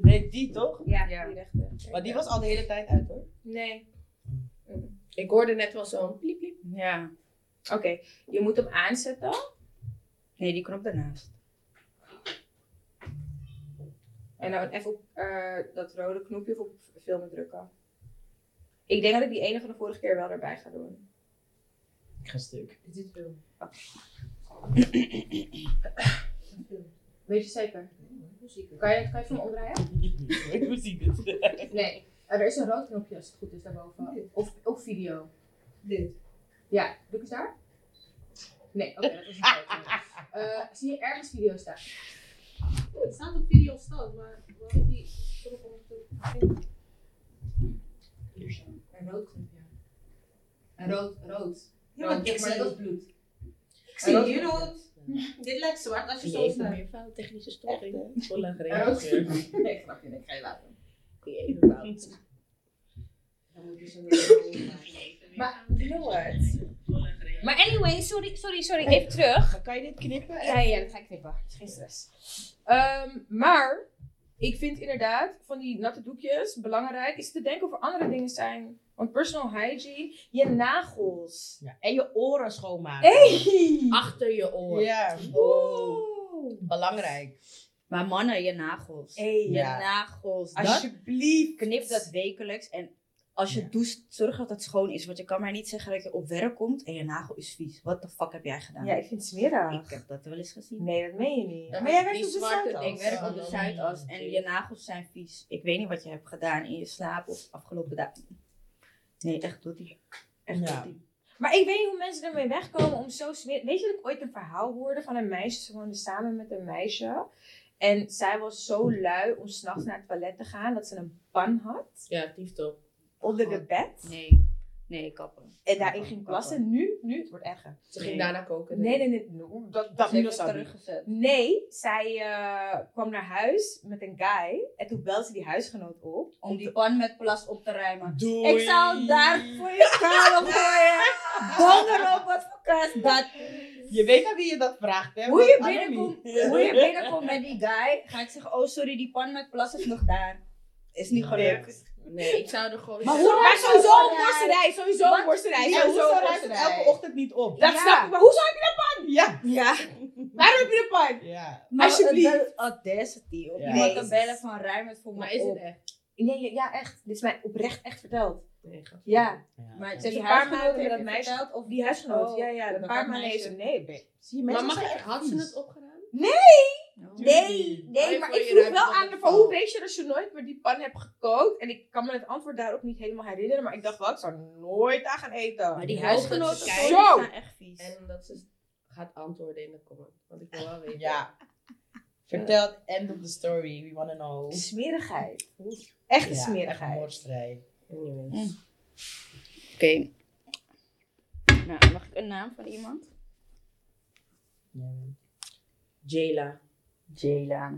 Speaker 3: Nee, die toch?
Speaker 1: Ja,
Speaker 2: Ja.
Speaker 1: die rechter.
Speaker 3: Maar die was al de hele tijd uit hoor.
Speaker 1: Nee.
Speaker 4: Ik hoorde net wel zo'n pliep pliep.
Speaker 2: Ja.
Speaker 1: Oké, je moet hem aanzetten.
Speaker 2: Nee, die knop daarnaast.
Speaker 1: En dan even op eh, dat rode knopje of op filmen drukken. Ik denk dat ik die ene van de vorige keer wel erbij ga doen.
Speaker 3: Ik ga stuk.
Speaker 6: Weet je zeker? Kan je, kan je van omdraaien?
Speaker 3: Hoe zie ik het?
Speaker 6: Nee. er is een rood knopje als het goed is daarboven. Of, of video. Dit. Ja, druk eens daar. Nee, oké, dat is een rood knopje. Eh, Zie je ergens video staan?
Speaker 7: Het staat op video stout, maar waarom die erop om te
Speaker 6: Een rood knopje. Een rood, rood.
Speaker 7: Ja, want
Speaker 6: Rood,
Speaker 7: ik
Speaker 6: maar
Speaker 7: zie-
Speaker 6: dat is bloed.
Speaker 7: Ik zie hier rood. Dit lijkt zwart als je zo staat.
Speaker 4: meer fout, technische storing.
Speaker 6: Een rood
Speaker 4: Volle
Speaker 6: knopje. Nee, grapje, nee, ik ga je laten.
Speaker 7: Dan moet je zo'n rood maken.
Speaker 1: Maar, you know what? Maar anyway, sorry, sorry, sorry, even terug.
Speaker 3: Kan je dit knippen?
Speaker 1: Ja, ja, dat ga ik knippen. Het is geen stress. Ehm, maar, ik vind inderdaad van die natte doekjes belangreg is te denken of er andere dingen zijn. Want personal hygiene, je nagels.
Speaker 3: Ja, en je oren schoonmaken.
Speaker 1: Hey!
Speaker 4: Achter je oor.
Speaker 3: Ja.
Speaker 1: Wow.
Speaker 3: Belangrijk.
Speaker 2: Maar mannen, je nagels.
Speaker 1: Hey.
Speaker 2: Je
Speaker 3: Ja.
Speaker 2: nagels. Dat
Speaker 3: Alsjeblieft.
Speaker 2: knip dat wekelijks. En
Speaker 8: Als je doucht, zorg dat het schoon is. Want je kan maar niet zeggen dat je op werk komt en je nagel is vies. Wat de fuck heb jij gedaan?
Speaker 1: Ja, ik vind het smerig.
Speaker 8: Ik heb dat wel eens gezien.
Speaker 1: Nee, dat meen je niet.
Speaker 8: Ja,
Speaker 1: maar jij werkt
Speaker 4: die
Speaker 1: op de
Speaker 4: zwarte
Speaker 1: Zuidas.
Speaker 8: Ik werk op de
Speaker 3: Oh,
Speaker 8: Zuidas en
Speaker 3: natuurlijk.
Speaker 8: je nagels zijn vies. Ik weet niet wat je hebt gedaan in je slaap of afgelopen dagen. Nee, echt doet die. Echt
Speaker 3: Ja.
Speaker 8: doet die.
Speaker 1: Maar ik weet niet hoe mensen ermee wegkomen om zo smerig... Weet je dat ik ooit een verhaal hoorde van een meisje? Ze woonde samen met een meisje. En zij was zo lui om s'nachts naar het toilet te gaan... dat ze een pan had
Speaker 4: Ja, tieftop.
Speaker 1: onder de bed.
Speaker 8: Nee, nee, kappen.
Speaker 1: En daarin ging plassen. Nu, nu, het wordt erger.
Speaker 4: Ze ging daarna koken.
Speaker 1: Nee, nee, nee. no, Dat, dat,
Speaker 8: Ze heeft
Speaker 1: dat
Speaker 8: het
Speaker 1: zou niet.
Speaker 8: teruggezet.
Speaker 1: Nee, zij eh, kwam naar huis met een guy. En toen belde ze die huisgenoot op.
Speaker 8: Om die pan met plas op te ruimen.
Speaker 3: Doei.
Speaker 8: Ik zou daar voor je gaan op gooien. Donder op wat voor kaas dat.
Speaker 3: Je weet aan wie je dat vraagt, hè?
Speaker 8: Hoe je
Speaker 3: want
Speaker 8: binnenkomt,
Speaker 3: anoniem.
Speaker 8: hoe je binnenkomt met die guy, ga ik zeggen, oh sorry, die pan met plas is nog daar. Is niet gelukt.
Speaker 4: Nee, ik zou er gewoon.
Speaker 3: Maar hoe-
Speaker 1: Maar sowieso
Speaker 8: zo
Speaker 1: een worstenrij, sowieso een worstenrij.
Speaker 3: En
Speaker 1: Sowieso
Speaker 3: hoezo
Speaker 1: een
Speaker 3: ruikt het
Speaker 1: worstenrij.
Speaker 3: elke ochtend niet op?
Speaker 1: Dat
Speaker 8: Ja.
Speaker 1: snap ik, maar hoezo heb je
Speaker 3: Ja.
Speaker 8: Ja.
Speaker 1: dat? Waarom heb je de pan?
Speaker 3: Ja.
Speaker 8: Maar
Speaker 1: Alsjeblieft.
Speaker 8: de audacity. Om
Speaker 3: Ja.
Speaker 8: iemand te
Speaker 1: Jezus.
Speaker 8: bellen van ruim het voor
Speaker 4: Maar
Speaker 8: me
Speaker 4: is
Speaker 8: op.
Speaker 4: het echt?
Speaker 1: Nee, ja, ja, echt. Dit is mij oprecht echt verteld.
Speaker 4: Nee, gast.
Speaker 1: Ja.
Speaker 8: Maar
Speaker 1: Ze heeft
Speaker 8: die
Speaker 1: een paar
Speaker 8: huisgenoot heeft
Speaker 1: maanden met dat
Speaker 8: het
Speaker 1: meisje.
Speaker 8: verteld,
Speaker 1: Of die huisgenoot.
Speaker 8: Oh,
Speaker 1: ja, ja. Een
Speaker 8: dat
Speaker 1: paar
Speaker 8: dat
Speaker 1: maanden heeft
Speaker 8: meisje.
Speaker 1: ze... Nee, babe. Zie je,
Speaker 4: Maar
Speaker 1: mensen
Speaker 4: mag
Speaker 1: zijn
Speaker 4: ik,
Speaker 1: echt
Speaker 4: had ze
Speaker 1: vies.
Speaker 4: het opgedaan?
Speaker 1: Nee,
Speaker 4: Oh,
Speaker 1: nee,
Speaker 4: je
Speaker 1: maar
Speaker 4: voor
Speaker 1: ik
Speaker 4: je
Speaker 1: vroeg
Speaker 4: ruikt
Speaker 1: wel
Speaker 4: dat
Speaker 1: aan
Speaker 4: het
Speaker 1: haar van
Speaker 4: wel.
Speaker 1: hoe weet je dat je nooit meer die pan hebt gekookt? En ik kan me het antwoord daarop niet helemaal herinneren, maar ik dacht wel, ik zou nooit aan gaan eten.
Speaker 8: Maar die
Speaker 4: Ik hoop dat ze
Speaker 8: huisgenoten
Speaker 4: kijkt.
Speaker 8: zo, die zijn echt vies.
Speaker 4: En dat ze gaat antwoorden in de comment. Want ik wil wel weten.
Speaker 3: Ja. Vertel het end of the story. We wanna know.
Speaker 1: Smerigheid. Echte
Speaker 3: Ja, echt een
Speaker 1: smerigheid.
Speaker 3: moordstrijd.
Speaker 4: Anyways.
Speaker 8: Oké. Nou, mag ik een naam van iemand?
Speaker 3: Ja.
Speaker 4: Jayla.
Speaker 2: Jela.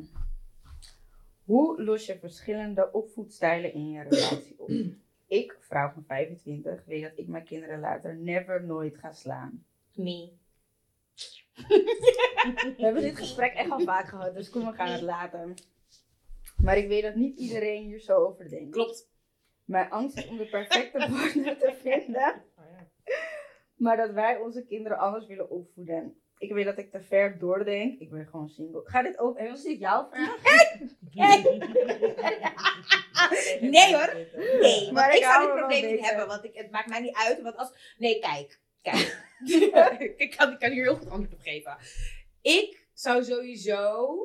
Speaker 2: Hoe los je verschillende opvoedstijlen in je relatie op? Ik, vrouw van 25, weet dat ik mijn kinderen later never nooit ga slaan.
Speaker 1: Me.
Speaker 2: We hebben dit gesprek echt al vaak gehad, dus kom, we gaan het laten. Maar ik weet dat niet iedereen hier zo over denkt.
Speaker 4: Klopt.
Speaker 2: Mijn angst is om de perfecte partner te vinden. Maar dat wij onze kinderen anders willen opvoeden. Ik weet dat ik te ver doordenk. Ik ben gewoon single. Ga dit ook. En was dit jouw vraag?
Speaker 1: Nee hoor. Nee, want
Speaker 2: Maar
Speaker 1: ik,
Speaker 2: ik
Speaker 1: zou dit
Speaker 2: hou me wel
Speaker 1: probleem niet
Speaker 2: bezig.
Speaker 1: hebben, want ik, het maakt mij niet uit. Want als... Nee, kijk. Kijk. ik, kan, ik kan hier heel goed antwoord op geven. Ik zou sowieso,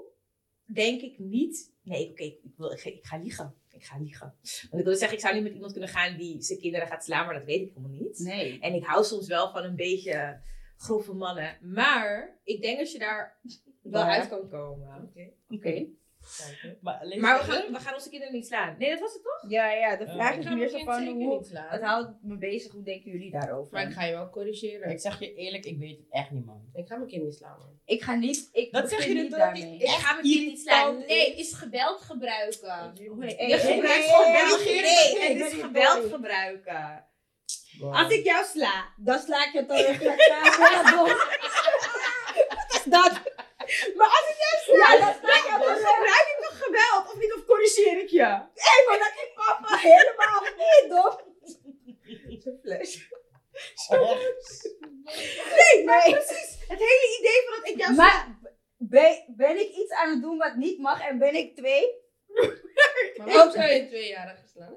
Speaker 1: denk ik niet... Nee, oké, ik, wil- ik, ga- ik ga liegen. Ik ga liegen. Want ik wil zeggen, ik zou niet met iemand kunnen gaan die zijn kinderen gaat slaan, maar dat weet ik helemaal niet.
Speaker 2: Nee.
Speaker 1: En ik hou soms wel van een beetje grove mannen. Maar ik denk dat je daar wel
Speaker 2: Ja.
Speaker 1: uit kan komen.
Speaker 2: Oké.
Speaker 3: Maar, alleen-
Speaker 1: Maar we gaan, we gaan onze kinderen niet slaan. Nee, dat was het toch?
Speaker 2: Ja, ja. De vraag
Speaker 3: ik
Speaker 2: is
Speaker 4: ga mijn
Speaker 2: meer zo
Speaker 4: kind
Speaker 2: van
Speaker 4: zeker
Speaker 2: hoe.
Speaker 4: niet slaan.
Speaker 2: Het houdt me bezig. Hoe denken jullie daarover?
Speaker 4: Maar ik ga je wel corrigeren.
Speaker 3: Ik
Speaker 4: Ik,
Speaker 3: zeg je eerlijk, ik weet het echt niet, man.
Speaker 4: ga mijn kind niet slaan, man.
Speaker 2: Ik ga niet. Ik
Speaker 3: Dat zeg
Speaker 2: begin
Speaker 3: je nu
Speaker 2: niet
Speaker 3: doordat
Speaker 2: daarmee.
Speaker 1: Ik ga mijn kind niet slaan. Nee,
Speaker 6: is geweld gebruiken.
Speaker 1: je gebruikt geweld. Nee, het is geweld gebruiken. Als ik jou sla, dan sla ik je toch. Wat is dat? Maar als ik jou sla, dan sla ik jou toch. Gebruik ik toch geweld? Of niet? Of corrigeer ik je? Hé, maar dat is papa helemaal niet, toch? Nee, maar precies. Het hele idee van dat dus- ik jou sla.
Speaker 2: Maar ben, ben ik iets aan het doen wat niet mag en ben ik twee?
Speaker 4: Maar waarom zou je een tweejarige slaan?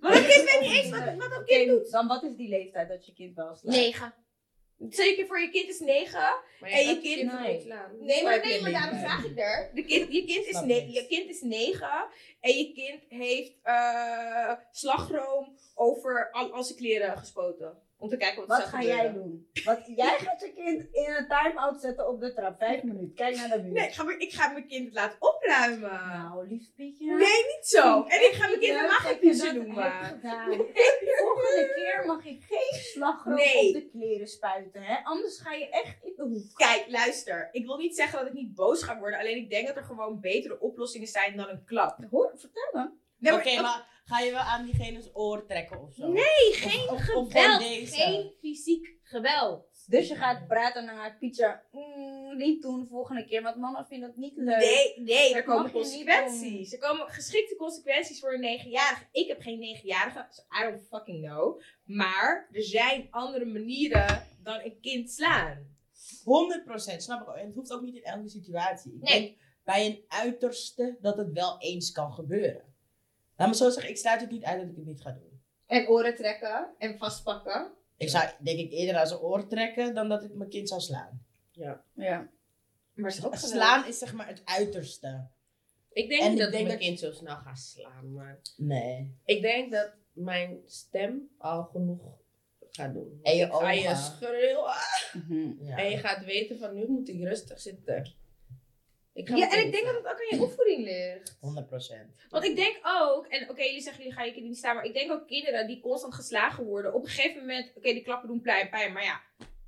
Speaker 1: Maar dat kind weet niet eens wat, wat dat kind doet.
Speaker 2: Dan wat is die leeftijd dat je kind wel slaat?
Speaker 1: 9. Zeker voor je kind is 9. En
Speaker 4: Maar gaat
Speaker 1: je
Speaker 4: je
Speaker 1: kind-
Speaker 4: kind toch
Speaker 2: nee.
Speaker 4: niet slaan.
Speaker 1: Nee,
Speaker 4: Waar
Speaker 1: maar
Speaker 4: heb je
Speaker 1: nee, maar
Speaker 4: mee?
Speaker 1: daarom vraag ik er. De kind, je, kind is
Speaker 3: Snap
Speaker 1: ne-
Speaker 3: niks.
Speaker 1: je kind is 9 en je kind heeft eh, slagroom over al, al zijn kleren gespoten. Om te kijken wat,
Speaker 2: Wat
Speaker 1: er zou
Speaker 2: ga
Speaker 1: gebeuren.
Speaker 2: jij doen? Want jij gaat je kind in een time-out zetten op de trap. Vijf minuten. Kijk naar de buurt.
Speaker 1: Nee, ik ga, mijn- ik ga mijn kind het laten opruimen.
Speaker 2: Nou, lief Pietje.
Speaker 1: Nee, niet zo. En ik ga mijn kind
Speaker 2: Leuk
Speaker 1: helemaal
Speaker 2: dat
Speaker 1: geen
Speaker 2: je
Speaker 1: kusje
Speaker 2: dat hebt
Speaker 1: noemen.
Speaker 2: gedaan. Volgende keer mag ik geen slagroom
Speaker 1: Nee.
Speaker 2: op de kleren spuiten. Hè? Anders ga je echt in de hoek.
Speaker 1: Kijk, luister. Ik wil niet zeggen dat ik niet boos ga worden. Alleen ik denk dat er gewoon betere oplossingen zijn dan een klap.
Speaker 2: Hoor, vertel dan.
Speaker 1: Nee,
Speaker 3: Oké, maar ga je wel aan diegene's oor trekken of zo?
Speaker 1: Nee,
Speaker 3: geen of, gewoon deze?
Speaker 1: fysiek geweld.
Speaker 2: Dus je gaat praten naar haar Pietje. Mm, niet doen volgende keer, want mama vindt het niet leuk.
Speaker 1: Nee, nee, er
Speaker 2: Dat
Speaker 1: komen
Speaker 2: mag je niet
Speaker 1: consequenties. Er komen geschikte consequenties voor een negenjarige. Ik heb geen negenjarige, so I don't fucking know. Maar er zijn andere manieren dan een kind slaan.
Speaker 3: 100% snap ik. ook. En het hoeft ook niet in elke situatie. Ik
Speaker 1: Nee.
Speaker 3: denk bij een uiterste dat het wel eens kan gebeuren. Laat me zo zeggen, ik sluit het niet uit dat ik het niet ga doen.
Speaker 6: En oren trekken en vastpakken.
Speaker 3: Ik zou denk ik eerder aan zijn oor trekken dan dat ik mijn kind zou slaan.
Speaker 2: Ja.
Speaker 1: Maar het is ook geweld.
Speaker 3: Slaan is zeg maar het uiterste.
Speaker 4: Ik denk
Speaker 3: En ik
Speaker 4: niet dat ik
Speaker 3: denk
Speaker 4: mijn
Speaker 3: dat-
Speaker 4: kind zo snel ga slaan. Maar
Speaker 3: Nee.
Speaker 4: ik denk dat mijn stem al genoeg gaat doen.
Speaker 3: En je
Speaker 4: Ik ga je
Speaker 3: ogen.
Speaker 4: schreeuwen.
Speaker 2: Mhm.
Speaker 3: Ja.
Speaker 4: En je gaat weten van nu moet ik rustig zitten. Ik ga
Speaker 1: Ja,
Speaker 4: mijn
Speaker 1: en ik
Speaker 4: kind
Speaker 1: denk dat
Speaker 4: slaan.
Speaker 1: het ook aan je opvoeding ligt.
Speaker 3: 100 procent.
Speaker 1: Want ik denk ook, en oké, jullie zeggen jullie gaan je kinderen niet staan, maar ik denk ook kinderen die constant geslagen worden. Op een gegeven moment, oké, die klappen doen pijn, pijn, maar ja.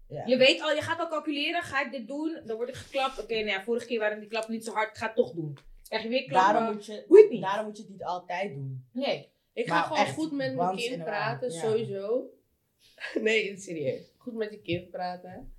Speaker 3: Ja.
Speaker 1: Je weet al, je gaat al calculeren, ga ik dit doen, dan word ik geklapt. Oké, nou ja, vorige keer waren die klappen niet zo hard, ik ga het toch doen. Krijg je weer klappen.
Speaker 3: Daarom moet, je,
Speaker 1: Hoe het niet.
Speaker 3: daarom moet je het niet altijd doen.
Speaker 1: Nee.
Speaker 4: Ik ga
Speaker 3: Maar
Speaker 4: gewoon
Speaker 3: echt,
Speaker 4: goed met mijn
Speaker 3: once in
Speaker 4: kind
Speaker 3: a while,
Speaker 4: praten,
Speaker 3: ja.
Speaker 4: sowieso. Nee, serieus. Goed met je kind praten.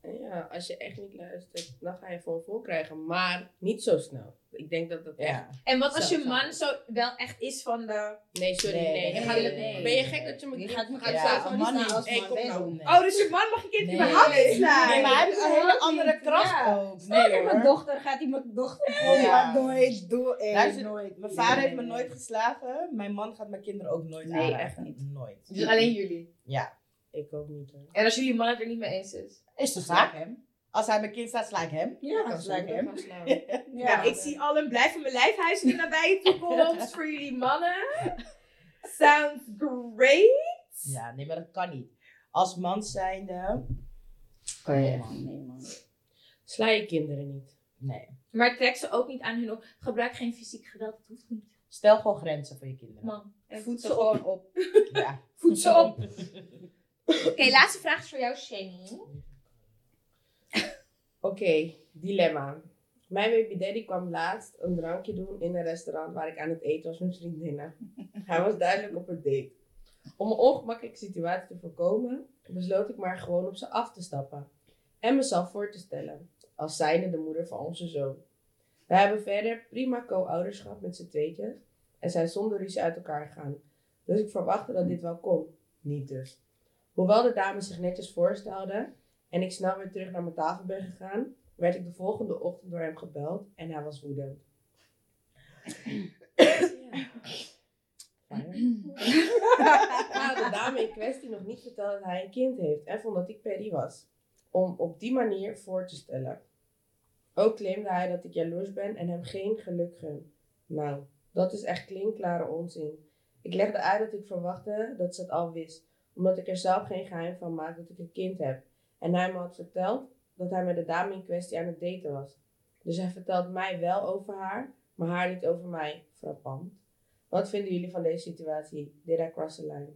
Speaker 4: En ja, als je echt niet luistert, dan ga je voor vol krijgen. Maar niet zo snel. Ik denk dat dat echt...
Speaker 3: Ja.
Speaker 1: En wat als
Speaker 4: Zo,
Speaker 1: je
Speaker 4: zo.
Speaker 1: man zo wel echt is van de...
Speaker 4: Nee, sorry, nee.
Speaker 3: Nee, nee,
Speaker 4: Je gaat-
Speaker 3: nee.
Speaker 4: Ben je gek dat je mijn
Speaker 2: Je
Speaker 4: kind
Speaker 2: gaat-
Speaker 4: gaat
Speaker 2: ja,
Speaker 4: slaan? Van,
Speaker 3: een
Speaker 4: die
Speaker 3: man
Speaker 4: slaan
Speaker 3: niet.
Speaker 4: als man, nee.
Speaker 1: Oh, dus je man mag je kind
Speaker 3: Nee.
Speaker 1: überhaupt niet slaan?
Speaker 3: Nee, maar hij heeft een hele andere kracht ook. Nee,
Speaker 8: Mijn
Speaker 3: hoor.
Speaker 8: dochter gaat die mijn dochter
Speaker 3: gewoon Ja. maar
Speaker 8: nooit doen.
Speaker 3: Luister, nooit. Mijn vader
Speaker 2: Nee,
Speaker 3: heeft me
Speaker 2: nee.
Speaker 3: nooit geslagen. Mijn man gaat mijn kinderen ook nooit
Speaker 2: Nee,
Speaker 3: aanraken.
Speaker 2: echt niet.
Speaker 3: Nooit.
Speaker 6: Dus alleen jullie.
Speaker 3: Ja.
Speaker 4: Ik ook niet. hoor.
Speaker 1: En als jullie man het er niet mee eens is?
Speaker 3: Is de
Speaker 2: Vaak
Speaker 3: zaak.
Speaker 2: hem.
Speaker 3: Als hij mijn kind staat, sla ik hem.
Speaker 8: Ja,
Speaker 3: Dan sla ik hem.
Speaker 4: Gaan slaan.
Speaker 1: Ja, ik zie al een blijf van mijn lijf huizen in de nabije toekomst voor jullie mannen. Sounds great.
Speaker 3: Ja, nee, maar dat kan niet. Als man zijnde...
Speaker 2: Kan je echt niet, nee man.
Speaker 4: Sla je kinderen niet.
Speaker 3: Nee.
Speaker 1: Maar trek ze ook niet aan hun op. Gebruik geen fysiek geweld, dat hoeft niet.
Speaker 3: Stel gewoon grenzen voor je kinderen.
Speaker 1: Man. En
Speaker 2: Voed ze gewoon op.
Speaker 3: Ja.
Speaker 1: Voed ze op. Oké, laatste vraag is voor jou, Shani.
Speaker 4: Oké, dilemma. Mijn baby daddy kwam laatst een drankje doen in een restaurant waar ik aan het eten was met vriendinnen. Hij was duidelijk op een date. Om een ongemakkelijke situatie te voorkomen, besloot ik maar gewoon op ze af te stappen. En mezelf voor te stellen, als zijnde de moeder van onze zoon. We hebben verder prima co-ouderschap met z'n tweetjes en zijn zonder ruzie uit elkaar gegaan. Dus ik verwachtte dat dit wel kon. Niet dus. Hoewel de dame zich netjes voorstelde en ik snel weer terug naar mijn tafel ben gegaan, werd ik de volgende ochtend door hem gebeld en hij was woedend. Ja. Fire. Maar had Nou, de dame in kwestie nog niet verteld dat hij een kind heeft en vond dat ik Perry was. Om op die manier voor te stellen. Ook claimde hij dat ik jaloers ben en hem geen geluk gun. Nou, dat is echt klinkklare onzin. Ik legde uit dat ik verwachtte dat ze het al wist, omdat ik er zelf geen geheim van maak dat ik een kind heb. En hij me had verteld dat hij met de dame in kwestie aan het daten was. Dus hij vertelt mij wel over haar, maar haar niet over mij. Frappant. Wat vinden jullie van deze situatie? Did I cross the line?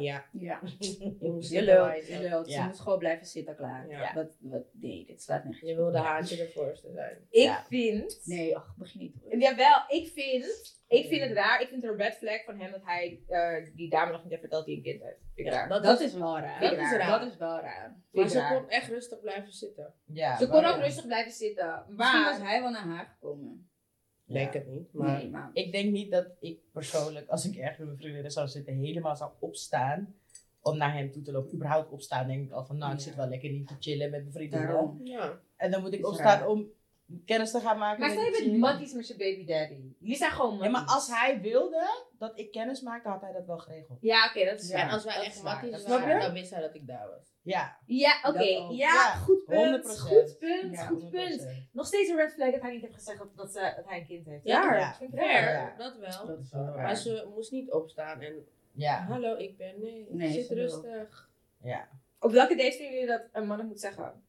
Speaker 3: Ja.
Speaker 2: Ja.
Speaker 4: Je moest
Speaker 2: Dus Je
Speaker 4: erbij
Speaker 2: lult, je
Speaker 4: zijn.
Speaker 2: lult. Ze
Speaker 3: Ja.
Speaker 2: moet gewoon blijven zitten klaar.
Speaker 4: Ja.
Speaker 2: Wat, wat, nee, dit slaat niet.
Speaker 4: Je wilde haantje ervoor te zijn.
Speaker 1: Ik
Speaker 2: Ja.
Speaker 1: vind...
Speaker 2: Nee, ach, begin niet. hoor.
Speaker 1: Jawel, ik vind... Ik vind het raar. Ik vind het een red flag van hem dat hij eh, die dame nog niet heeft verteld die een kind heeft. Vind ik raar.
Speaker 2: Dat, is wel raar.
Speaker 4: dat is raar.
Speaker 2: Dat is wel raar.
Speaker 4: Maar
Speaker 2: Vind
Speaker 4: ze
Speaker 2: ik raar.
Speaker 4: kon echt rustig blijven zitten.
Speaker 3: Ja,
Speaker 1: Ze kon
Speaker 3: waarom?
Speaker 1: ook rustig blijven zitten.
Speaker 2: Misschien was
Speaker 1: Maar...
Speaker 2: hij wel naar haar gekomen.
Speaker 3: Ja.
Speaker 4: Denk het niet. Maar
Speaker 2: Nee, maar...
Speaker 3: Ik denk niet dat ik persoonlijk, als ik ergens met mijn vriendinnen zou zitten, helemaal zou opstaan om naar hem toe te lopen. Überhaupt opstaan, denk ik al van, nou, ik
Speaker 2: Ja.
Speaker 3: zit wel lekker hier te chillen met mijn vriendinnen.
Speaker 2: Daarom.
Speaker 4: ja.
Speaker 3: En dan moet ik
Speaker 2: Is
Speaker 3: opstaan
Speaker 2: raar.
Speaker 3: om kennis te gaan maken
Speaker 1: Maar
Speaker 3: met
Speaker 1: stel je
Speaker 3: die
Speaker 1: bent
Speaker 3: chick.
Speaker 1: matties met je baby daddy. Jullie zijn gewoon
Speaker 3: Ja,
Speaker 1: matties.
Speaker 3: maar als hij wilde dat ik kennis maakte, had hij dat wel geregeld.
Speaker 1: Ja, oké, dat is
Speaker 2: Ja.
Speaker 4: En als wij
Speaker 1: Dat
Speaker 4: echt
Speaker 1: is waar,
Speaker 4: matties
Speaker 1: dat is
Speaker 4: waren,
Speaker 3: waar.
Speaker 4: dan wist hij dat ik daar was.
Speaker 3: Ja,
Speaker 1: Ja, oké.
Speaker 2: Dat ook.
Speaker 1: Ja,
Speaker 3: Ja,
Speaker 1: goed punt.
Speaker 3: 100%.
Speaker 1: Goed punt.
Speaker 2: Ja,
Speaker 1: goed punt.
Speaker 3: 100%.
Speaker 1: Nog steeds een red flag dat hij niet heeft gezegd dat, dat, ze, dat hij een kind heeft.
Speaker 4: Ja,
Speaker 3: Ja.
Speaker 1: Vind ik raar.
Speaker 4: Fair,
Speaker 3: Ja.
Speaker 4: dat wel.
Speaker 2: Dat is wel
Speaker 4: Maar
Speaker 2: raar.
Speaker 4: ze moest niet opstaan en
Speaker 3: Ja,
Speaker 4: hallo, ik ben nee, ik
Speaker 2: Nee,
Speaker 4: zit
Speaker 2: ze wil.
Speaker 4: rustig.
Speaker 3: ja.
Speaker 1: Op welke date vinden jullie dat een man het moet zeggen?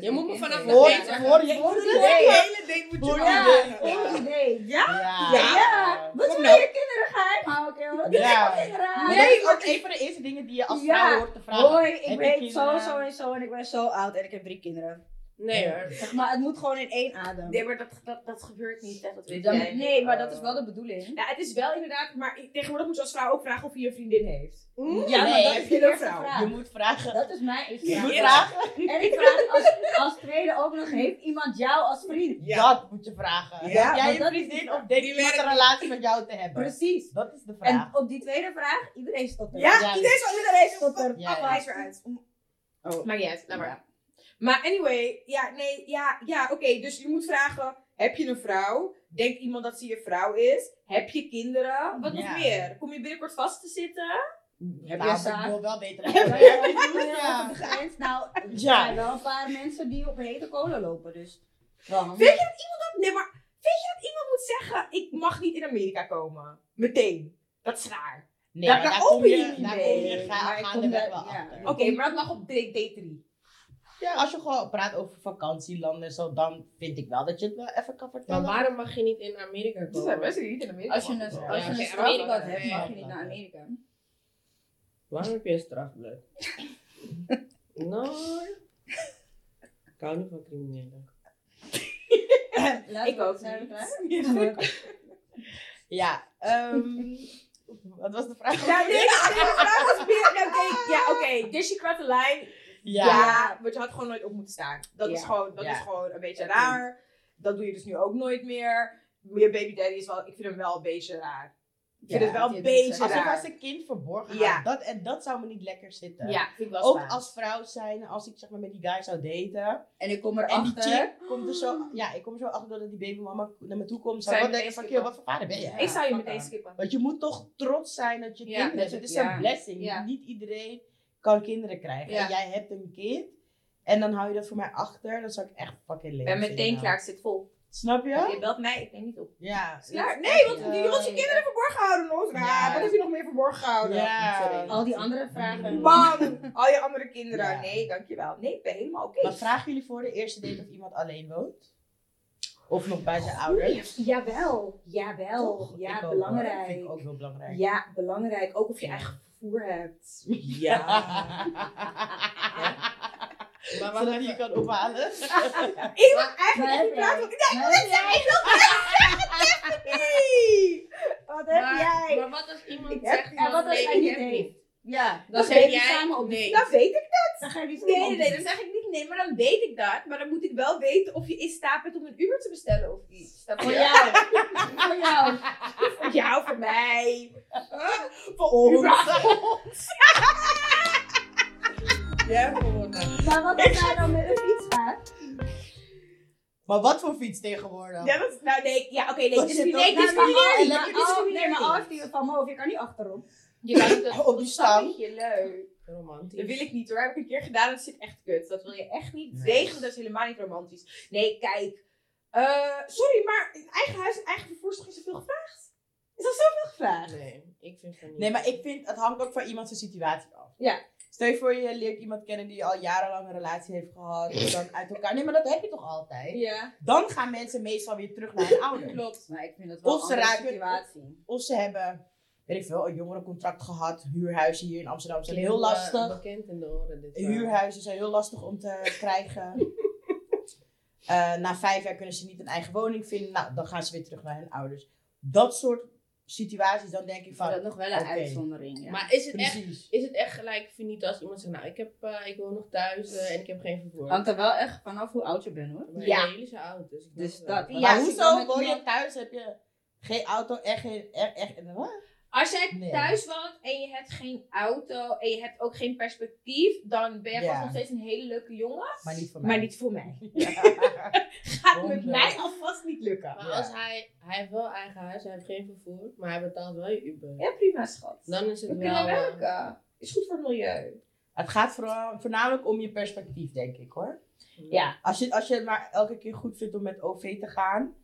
Speaker 4: Je moet me vanaf de
Speaker 3: Hoor
Speaker 4: date
Speaker 3: je, hoor je, hoor je, hoor je,
Speaker 4: hele ding moet
Speaker 3: hoor
Speaker 4: maar-
Speaker 3: je,
Speaker 1: Nee, ja.
Speaker 3: Ja.
Speaker 1: Ja. Wat
Speaker 3: Kom
Speaker 1: wil
Speaker 3: nou.
Speaker 1: je kinderen geheim houden? joh?
Speaker 3: Ja.
Speaker 1: Kinderen.
Speaker 3: Maar Dat is ook een van de eerste dingen die je als
Speaker 8: Ja.
Speaker 3: vrouw hoort te vragen.
Speaker 8: Hoi, ik
Speaker 3: Heb je
Speaker 8: ben zo,
Speaker 3: kinderen?
Speaker 8: zo en zo en ik ben zo oud en ik heb drie kinderen.
Speaker 4: Nee hoor.
Speaker 8: Zeg maar, het moet gewoon in één adem.
Speaker 1: Nee, maar dat, dat, dat gebeurt niet. Hè. Dat weet
Speaker 8: Dan-
Speaker 1: jij.
Speaker 8: nee, maar dat is wel de bedoeling.
Speaker 1: Ja, het is wel inderdaad, maar ik- tegenwoordig moet je als vrouw ook vragen of je een vriendin heeft.
Speaker 3: Ja, maar
Speaker 8: Nee,
Speaker 3: dat
Speaker 8: heb
Speaker 3: is
Speaker 8: je
Speaker 3: niet een
Speaker 8: eerst
Speaker 3: vrouw.
Speaker 8: gevraagd?
Speaker 3: Je moet vragen.
Speaker 8: Dat is mijn eerste
Speaker 3: Je moet
Speaker 8: vraag.
Speaker 3: vragen.
Speaker 8: En ik vraag als, als tweede ook nog, heeft iemand jou als vriend?
Speaker 3: Dat moet je vragen.
Speaker 8: Ja,
Speaker 3: Heb
Speaker 8: want
Speaker 3: jij
Speaker 8: dat
Speaker 3: een
Speaker 8: is
Speaker 3: vriendin of denkt iemand een relatie met jou te hebben?
Speaker 8: Precies.
Speaker 3: Dat is de vraag.
Speaker 8: En op die tweede vraag, iedereen stopt er.
Speaker 3: Ja.
Speaker 1: zal iedereen zo
Speaker 8: Stopt er.
Speaker 3: Ja, ja.
Speaker 1: hij is eruit.
Speaker 2: Oh.
Speaker 1: Maakt niet uit, laat maar. Maar anyway, ja, nee, ja, ja oké. dus je moet vragen, heb je een vrouw? Denkt iemand dat ze je vrouw is? Heb je kinderen? Wat
Speaker 3: Ja.
Speaker 1: nog meer? Kom je binnenkort vast te zitten?
Speaker 3: Heb
Speaker 2: Nou,
Speaker 3: jij
Speaker 2: ik
Speaker 3: zaak? Ik
Speaker 2: wil
Speaker 3: wil wel beter
Speaker 2: Ja, op de grens. Nou, er
Speaker 3: Ja.
Speaker 2: zijn wel een paar mensen die op hete kolen lopen, dus wel handig.
Speaker 1: Nee, maar weet je dat iemand moet zeggen, ik mag niet in Amerika komen? Meteen. Dat is raar.
Speaker 3: Nee,
Speaker 1: Daar
Speaker 3: maar
Speaker 1: kan
Speaker 3: daar
Speaker 1: ook
Speaker 3: kom je,
Speaker 1: niet
Speaker 3: daar
Speaker 1: mee.
Speaker 3: kom je
Speaker 2: Maar ik
Speaker 3: ga,
Speaker 2: kom
Speaker 3: gaandeweg
Speaker 2: daar-
Speaker 3: wel
Speaker 2: ja.
Speaker 3: achter.
Speaker 1: Oké, maar dat mag op D- D3.
Speaker 3: Ja, als je gewoon praat over vakantielanden en zo, dan vind ik wel dat je het wel even kan
Speaker 4: Maar
Speaker 3: vertellen.
Speaker 4: waarom mag je niet in Amerika
Speaker 1: Er zijn
Speaker 4: komen?
Speaker 1: mensen die niet in Amerika
Speaker 2: Als je
Speaker 1: mogen
Speaker 2: een,
Speaker 1: komen.
Speaker 2: als
Speaker 4: Ja,
Speaker 2: je een
Speaker 4: oké,
Speaker 2: strafblad
Speaker 4: Amerika.
Speaker 2: hebt, mag je
Speaker 3: Ja.
Speaker 2: niet naar Amerika.
Speaker 4: Waarom heb je een strafblad? nou. Ik hou niet van criminelen.
Speaker 1: Ik ook
Speaker 2: Zijn we
Speaker 1: niet.
Speaker 2: klaar?
Speaker 3: Ja, ehm, wat was de vraag?
Speaker 1: Ja, nee, de vraag was meer... nou, oké, ja, oké. Dus je kwam de lijn. Ja. want je had gewoon nooit op moeten staan. Dat, is,
Speaker 3: Ja.
Speaker 1: gewoon, dat
Speaker 3: Ja.
Speaker 1: is gewoon een beetje raar. Dat doe je dus nu ook nooit meer. Je baby daddy is wel... Ik vind hem wel een beetje raar. Ik vind
Speaker 3: Ja,
Speaker 1: het wel
Speaker 2: dit
Speaker 1: een
Speaker 2: is
Speaker 1: beetje
Speaker 3: Als ik
Speaker 1: raar.
Speaker 3: als een kind verborgen
Speaker 1: Ja.
Speaker 3: had, dat, en dat zou me niet lekker zitten.
Speaker 1: vind ik wel
Speaker 3: Ook als vrouw zijn, als ik zeg maar met die guy zou daten.
Speaker 2: En ik kom
Speaker 3: En die
Speaker 2: erachter.
Speaker 3: chick komt er zo, ja, ik kom er zo achter dat die babymama naar me toe komt.
Speaker 1: Zou
Speaker 3: Zou ik
Speaker 1: je
Speaker 3: wel denken
Speaker 1: meteen
Speaker 3: van, joh, wat voor vader ben je?
Speaker 1: Ik zou je
Speaker 3: Ja.
Speaker 1: meteen skippen.
Speaker 3: Want je moet toch trots zijn dat je
Speaker 1: Ja,
Speaker 3: kind
Speaker 2: dat
Speaker 3: hebt. Het
Speaker 2: ik-
Speaker 3: is
Speaker 2: ja.
Speaker 3: een blessing.
Speaker 9: Ja.
Speaker 3: Niet iedereen kan kinderen krijgen.
Speaker 9: Ja.
Speaker 3: En jij hebt een kind. En dan hou je dat voor mij achter. Dan zou ik echt fucking
Speaker 1: Ik
Speaker 3: leven.
Speaker 1: ben meteen klaar, ik zit vol.
Speaker 3: Snap je?
Speaker 1: Je belt mij, ik neem niet op.
Speaker 3: Ja.
Speaker 1: Klaar? Nee, want je wilt je
Speaker 2: Nee.
Speaker 1: kinderen verborgen houden, Noor.
Speaker 3: Ja.
Speaker 1: Wat heb je nog meer verborgen gehouden?
Speaker 3: Ja.
Speaker 2: Al die andere vragen.
Speaker 1: Bam! Al je andere kinderen.
Speaker 3: Ja.
Speaker 1: Nee, dankjewel. Oh, Nee, ik ben helemaal oké.
Speaker 3: Maar vragen jullie voor de eerste date of iemand alleen woont? Of nog bij zijn ouders?
Speaker 1: Jawel, jawel.
Speaker 3: Toch?
Speaker 1: ja,
Speaker 3: Ik ook, hoor.
Speaker 1: belangrijk.
Speaker 3: Vind ik ook heel belangrijk.
Speaker 1: Ja, belangrijk. Ook of je eigen vervoer hebt.
Speaker 3: maar Zodat je je kan ophalen.
Speaker 1: Ik wil eigenlijk niet praten. want- Nee! Wat heb jij?
Speaker 4: Maar wat als iemand
Speaker 1: Ik heb-
Speaker 4: zegt...
Speaker 2: En wat als
Speaker 4: nee,
Speaker 2: hij
Speaker 4: ik
Speaker 2: niet
Speaker 4: heb
Speaker 2: heeft? Ja,
Speaker 4: Dan
Speaker 1: zeg
Speaker 4: zeg
Speaker 1: je
Speaker 4: jij
Speaker 1: samen
Speaker 4: samen op nee.
Speaker 1: Dan weet ik
Speaker 2: dan ga je die
Speaker 1: Nee, nee, nee, dan zeg ik niet nee, maar dan weet ik dat. Maar dan moet ik wel weten of je in staat bent om een Uber te bestellen of iets. Snap je?
Speaker 2: Voor jou. Voor jou.
Speaker 1: Voor jou, voor mij. Voor ons.
Speaker 4: Jij gewonnen.
Speaker 2: Maar wat als hij dan met een fiets gaat?
Speaker 3: Maar wat voor fiets tegenwoordig?
Speaker 1: Ja, dat is- nou nee, ja, oké, nee,
Speaker 3: Dat
Speaker 1: dit is
Speaker 3: zit
Speaker 1: niet, nee,
Speaker 3: ook-
Speaker 1: dit is
Speaker 3: nou,
Speaker 1: niet
Speaker 3: maar-
Speaker 1: eerlijk.
Speaker 3: maar-
Speaker 1: Dit is
Speaker 2: Oh,
Speaker 1: niet
Speaker 2: nee, maar
Speaker 1: eerlijk.
Speaker 2: als die er van me of je kan niet achterop.
Speaker 9: Je kan het
Speaker 3: Oh, Op die stam.
Speaker 1: je leuk.
Speaker 4: Romantisch.
Speaker 1: Dat wil ik niet hoor. Heb ik een keer gedaan. Dat zit echt kut. Dat wil je echt niet.
Speaker 3: Nee.
Speaker 1: Regelen, dat is helemaal niet romantisch. Nee, kijk. Eh, sorry, maar een eigen huis en eigen vervoer is toch niet zoveel gevraagd? Is dat zoveel gevraagd?
Speaker 4: Nee, ik vind van niet.
Speaker 3: Nee, maar ik vind, het hangt ook van iemand zijn situatie af.
Speaker 1: Ja.
Speaker 3: Stel je voor, je leert iemand kennen die al jarenlang een relatie heeft gehad. En dan uit elkaar. Nee, maar dat heb je toch altijd?
Speaker 1: Ja.
Speaker 3: Dan gaan mensen meestal weer terug naar hun ouders. Klopt.
Speaker 2: Maar ik vind het wel
Speaker 3: Of
Speaker 2: een
Speaker 3: ze
Speaker 2: andere
Speaker 3: raken-
Speaker 2: situatie.
Speaker 3: Of ze hebben, weet ik veel, een jongerencontract gehad. Huurhuizen hier in Amsterdam zijn
Speaker 4: Klinkt,
Speaker 3: heel
Speaker 4: eh,
Speaker 3: lastig.
Speaker 4: Bekend in de oren dit verhaal.
Speaker 3: Huurhuizen zijn heel lastig om te krijgen. Eh, na vijf jaar kunnen ze niet een eigen woning vinden. Nou, dan gaan ze weer terug naar hun ouders. Dat soort situaties, dan denk
Speaker 2: Ik
Speaker 3: ik
Speaker 2: vind
Speaker 3: van,
Speaker 2: dat nog wel een
Speaker 3: Oké.
Speaker 2: uitzondering. Ja.
Speaker 4: Maar is het, echt,
Speaker 3: precies.
Speaker 4: is het echt gelijk verniet als iemand zegt, nou, ik, heb, eh, ik woon nog thuis eh, en ik heb geen vervoer?
Speaker 3: Oh,
Speaker 2: Hangt er wel echt vanaf hoe oud je bent hoor.
Speaker 4: Maar
Speaker 1: Ja.
Speaker 4: ja, jullie zijn oud, dus ik
Speaker 2: Dus
Speaker 4: dacht,
Speaker 2: dat.
Speaker 4: eh,
Speaker 3: maar
Speaker 2: als ik dan
Speaker 3: hoezo
Speaker 2: met
Speaker 3: woon je
Speaker 2: iemand-
Speaker 3: thuis, heb je geen auto en geen... En, en, en- wat?
Speaker 1: Als jij
Speaker 3: Nee.
Speaker 1: thuis woont en je hebt geen auto en je hebt ook geen perspectief, dan ben je
Speaker 3: Ja.
Speaker 1: vast nog steeds een hele leuke jongen.
Speaker 3: Maar niet voor mij.
Speaker 1: Maar niet voor mij. Gaat met
Speaker 3: Honderd.
Speaker 1: mij alvast niet lukken.
Speaker 4: Maar
Speaker 3: Ja.
Speaker 4: als hij, hij heeft wel eigen huis, hij heeft geen vervoer, maar hij betaalt wel je Uber.
Speaker 1: Ja, prima schat.
Speaker 4: Dan is het
Speaker 1: We
Speaker 4: wel...
Speaker 1: kunnen
Speaker 4: eh,
Speaker 1: werken. Is goed voor het milieu.
Speaker 3: Het gaat vooral- voornamelijk om je perspectief, denk ik hoor.
Speaker 1: Ja.
Speaker 3: Als je, als je het maar elke keer goed vindt om met OV te gaan,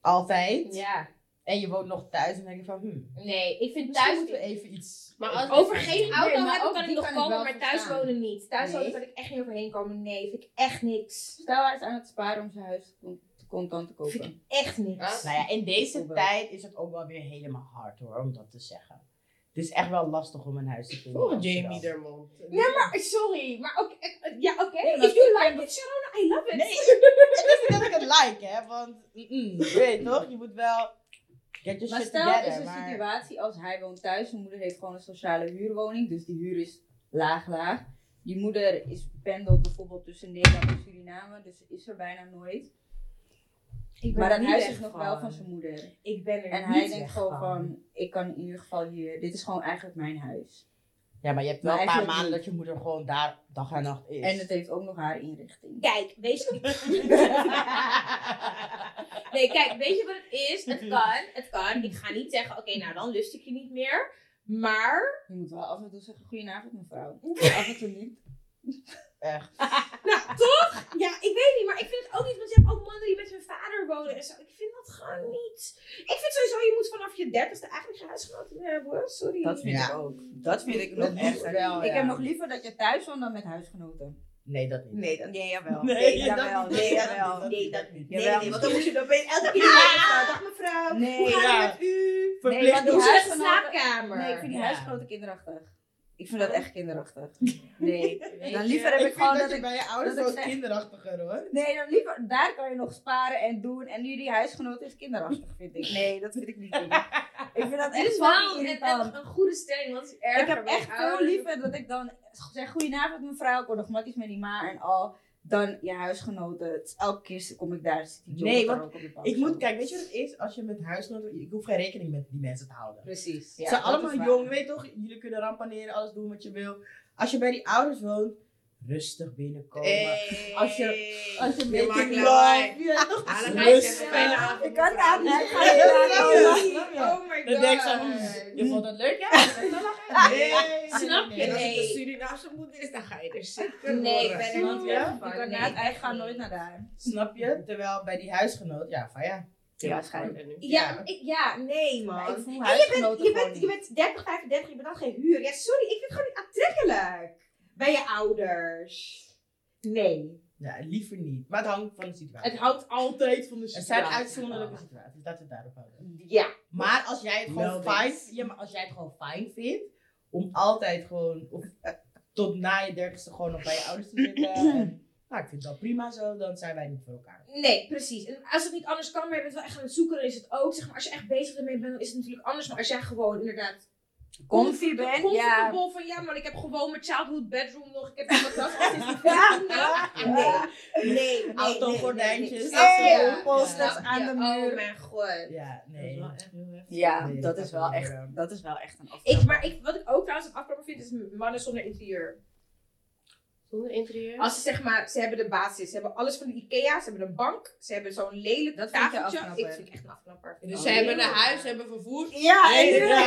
Speaker 3: altijd,
Speaker 1: Ja.
Speaker 3: en je woont nog thuis, dan denk je van, hmm,
Speaker 1: Nee, ik vind
Speaker 3: Thuis
Speaker 1: thuis...
Speaker 3: moeten we even iets.
Speaker 4: Maar als
Speaker 1: Over geen auto
Speaker 2: maar
Speaker 1: hebben
Speaker 2: ook
Speaker 1: kan ik
Speaker 2: die
Speaker 1: nog
Speaker 2: kan ik
Speaker 1: komen,
Speaker 2: wel
Speaker 1: maar thuis
Speaker 2: verstaan.
Speaker 1: wonen niet. Thuis
Speaker 2: Nee.
Speaker 1: wonen kan ik echt niet overheen komen. Nee, vind ik echt niks.
Speaker 2: Stel hij is aan het sparen om zijn huis con- contant te
Speaker 1: Vind ik
Speaker 2: kopen.
Speaker 1: echt niks.
Speaker 4: Ah.
Speaker 3: Nou ja, in deze
Speaker 2: Bijvoorbeeld.
Speaker 3: tijd is het ook wel weer helemaal hard hoor, om dat te zeggen. Het is echt wel lastig om een huis te vinden.
Speaker 4: Voor
Speaker 3: in Amsterdam.
Speaker 4: Jamie Dermond.
Speaker 1: Ja, maar sorry. Maar ook, eh, eh, ja, oké.
Speaker 3: maar
Speaker 1: If you like it, Sharona, I love it.
Speaker 3: Nee, het is niet dat ik het like, hè, want mm, mm, je weet toch, je moet wel. Get your
Speaker 2: Maar
Speaker 3: shit
Speaker 2: stel
Speaker 3: together,
Speaker 2: is een
Speaker 3: maar-
Speaker 2: situatie als hij woont thuis. Zijn moeder heeft gewoon een sociale huurwoning. Dus die huur is laag laag. Die moeder is pendelt bijvoorbeeld tussen Nederland en Suriname. Dus is er bijna nooit.
Speaker 1: Ik ben
Speaker 2: Maar
Speaker 1: er
Speaker 2: dat
Speaker 1: niet
Speaker 2: huis
Speaker 1: weg
Speaker 2: is nog wel van zijn moeder.
Speaker 1: Ik ben er niet
Speaker 2: En hij
Speaker 1: weg
Speaker 2: denkt gewoon van ik kan in ieder geval hier. Dit is gewoon eigenlijk mijn huis.
Speaker 3: Ja, maar je hebt wel
Speaker 2: Maar
Speaker 3: een paar
Speaker 2: eigenlijk
Speaker 3: maanden dat je moeder gewoon daar dag en nacht is.
Speaker 2: En het heeft ook nog haar inrichting.
Speaker 1: Kijk, wees Nee, kijk, weet je wat het is? Het kan, het kan. Ik ga niet zeggen, oké, nou dan lust ik je niet meer. Maar,
Speaker 2: Je moet wel af en toe zeggen, goedenavond mevrouw. af en toe niet.
Speaker 3: Echt.
Speaker 1: nou toch? Ja, ik weet niet, maar ik vind het ook niet. Want je hebt ook mannen die met hun vader wonen en zo. Ik vind dat gewoon niet. Ik vind sowieso, je moet vanaf je dertigste eigenlijk geen huisgenoten meer hebben. hoor. Sorry.
Speaker 2: Dat vind
Speaker 3: Ja.
Speaker 2: ik ook. Dat Oh, vind ik
Speaker 3: Dat
Speaker 2: nog
Speaker 3: moet
Speaker 2: echt.
Speaker 3: wel,
Speaker 2: Ik
Speaker 3: ja.
Speaker 2: heb nog liever dat je thuis woont dan met huisgenoten.
Speaker 3: Nee, dat niet.
Speaker 2: Nee, dat, nee jawel.
Speaker 3: Nee, dat
Speaker 2: jawel.
Speaker 3: niet.
Speaker 2: Nee,
Speaker 3: Nee, dat
Speaker 2: jawel.
Speaker 3: niet.
Speaker 2: Nee, dat
Speaker 3: niet.
Speaker 1: Nee, nee, nee, want dan moet je dan opeens elke keer dag mevrouw.
Speaker 2: Nee,
Speaker 1: Hoe gaat
Speaker 3: ja.
Speaker 1: het met u? Hoe is
Speaker 2: Nee, want die
Speaker 1: het in de
Speaker 2: huisgenoten...
Speaker 1: slaapkamer?
Speaker 2: Nee, ik vind die
Speaker 3: Ja. Oh.
Speaker 2: huisgenoten kinderachtig. Ik vind dat echt kinderachtig. Nee. Dan liever heb
Speaker 3: ik
Speaker 2: ik,
Speaker 3: vind
Speaker 2: gewoon
Speaker 3: dat,
Speaker 2: dat
Speaker 3: je
Speaker 2: ik...
Speaker 3: bij je ouders
Speaker 2: dat ik
Speaker 3: wel
Speaker 2: zeg-
Speaker 3: kinderachtiger hoor.
Speaker 2: Nee, dan liever... Daar kan je nog sparen en doen. En nu die huisgenoot is kinderachtig, vind ik. Nee, dat vind ik niet doen. Ik vind dat
Speaker 10: Dit
Speaker 2: echt
Speaker 10: is wel
Speaker 2: fucking
Speaker 10: een,
Speaker 2: irritant.
Speaker 10: een, een goede stelling, want het is erger
Speaker 2: Ik heb
Speaker 10: bij
Speaker 2: echt veel
Speaker 10: ouders.
Speaker 2: liever dat ik dan zeg goedenavond mevrouw, ik word nog matjes met die ma en al. Dan je huisgenoten. Het is elke keer kom ik daar, zit die
Speaker 3: Nee,
Speaker 2: nee,
Speaker 3: want
Speaker 2: ook op de bank.
Speaker 3: Ik moet,
Speaker 2: Zo.
Speaker 3: kijk, weet je wat het is? Als je met huisgenoten, ik hoef geen rekening met die mensen te houden.
Speaker 2: Precies.
Speaker 3: Ze
Speaker 2: Ja,
Speaker 3: zijn
Speaker 2: dat is
Speaker 3: allemaal
Speaker 2: waar.
Speaker 3: jong, je weet toch? Jullie kunnen rampaneren, alles doen wat je wil. Als je bij die ouders woont, rustig binnenkomen.
Speaker 2: Eh,
Speaker 3: Als je, als je
Speaker 4: Je maakt
Speaker 3: making
Speaker 4: lawaai.
Speaker 3: love, ja, toch?
Speaker 4: Ah, dan ga je zeggen,
Speaker 3: Rustig.
Speaker 4: fijne avond.
Speaker 2: Ik kan daar niet
Speaker 3: Ja, ja, ja, ja.
Speaker 2: gaan.
Speaker 10: Oh my god.
Speaker 3: Dan denk ik zo, hm, je vond dat leuk, hè? Nee.
Speaker 10: Snap je?
Speaker 4: En als het
Speaker 1: Nee.
Speaker 4: een Surinaamse moeder is, dan ga je er zitten.
Speaker 1: Nee, ik
Speaker 4: hoor.
Speaker 1: ben er niet
Speaker 3: Ja?
Speaker 1: meer
Speaker 2: Ik
Speaker 1: van.
Speaker 2: kan
Speaker 1: Nee,
Speaker 2: na het
Speaker 1: echt
Speaker 2: eigen gaan
Speaker 1: niet.
Speaker 2: nooit naar daar.
Speaker 3: Snap je? Terwijl bij die huisgenoot, ja, van ja.
Speaker 2: Ja, waarschijnlijk.
Speaker 1: Ja, maar ik, ja, nee
Speaker 2: Maar ik
Speaker 1: man. En
Speaker 2: voel
Speaker 1: je bent,
Speaker 2: huisgenoten
Speaker 1: je,
Speaker 2: gewoon
Speaker 1: bent, je
Speaker 2: niet.
Speaker 1: bent 30, 35, je bent al geen huur. Ja, sorry, ik vind het gewoon niet aantrekkelijk. Bij je ouders. Nee.
Speaker 3: Ja, liever niet. Maar het hangt van de situatie.
Speaker 1: Het houdt altijd van de
Speaker 3: Er
Speaker 1: situatie.
Speaker 3: zijn uitzonderlijke situaties, dat we daarop houden.
Speaker 1: Ja.
Speaker 3: Maar als jij het gewoon
Speaker 4: Meldings.
Speaker 3: fijn, ja, maar als jij het gewoon fijn vindt, om altijd gewoon, of, eh, tot na je dertigste gewoon nog bij je ouders te zitten. en, nou, ik vind dat prima zo, dan zijn wij niet voor elkaar.
Speaker 1: Nee, precies. En als het niet anders kan, maar je bent wel echt aan het zoeken, dan is het ook. Zeg maar, als je echt bezig ermee bent, dan is het natuurlijk anders. Maar als jij gewoon inderdaad
Speaker 2: Comfy ben, ja.
Speaker 1: comfortabel van ja, maar ik heb gewoon mijn childhood bedroom nog. Ik heb mijn matras al sinds mijn vijftiende. Nee, nee, nee.
Speaker 3: Autogordijntjes,
Speaker 1: Nee,
Speaker 3: nee, posters
Speaker 1: Snap
Speaker 3: aan
Speaker 1: je?
Speaker 3: de muur.
Speaker 1: Oh mijn god.
Speaker 3: Ja, nee.
Speaker 2: Ja,
Speaker 3: Nee,
Speaker 2: dat
Speaker 3: dat
Speaker 2: is
Speaker 3: kan
Speaker 2: wel
Speaker 3: niet
Speaker 2: echt,
Speaker 3: meer.
Speaker 2: dat is wel echt een
Speaker 1: Ik,
Speaker 2: afknapper.
Speaker 1: maar ik, wat ik ook trouwens een afknapper vind, is mannen zonder interieur.
Speaker 4: Zonder interieur.
Speaker 1: Als ze zeg maar, ze hebben de basis. Ze hebben alles van de Ikea, ze hebben een bank, ze hebben zo'n lelijk
Speaker 2: Dat vind je
Speaker 1: tafeltje.
Speaker 2: afknapper.
Speaker 1: ik vind het echt een afknapper.
Speaker 4: dus
Speaker 2: Oh,
Speaker 4: ze hebben
Speaker 2: nee.
Speaker 4: een huis, ze hebben vervoer.
Speaker 2: Ja,
Speaker 3: Nee,
Speaker 2: en-
Speaker 4: En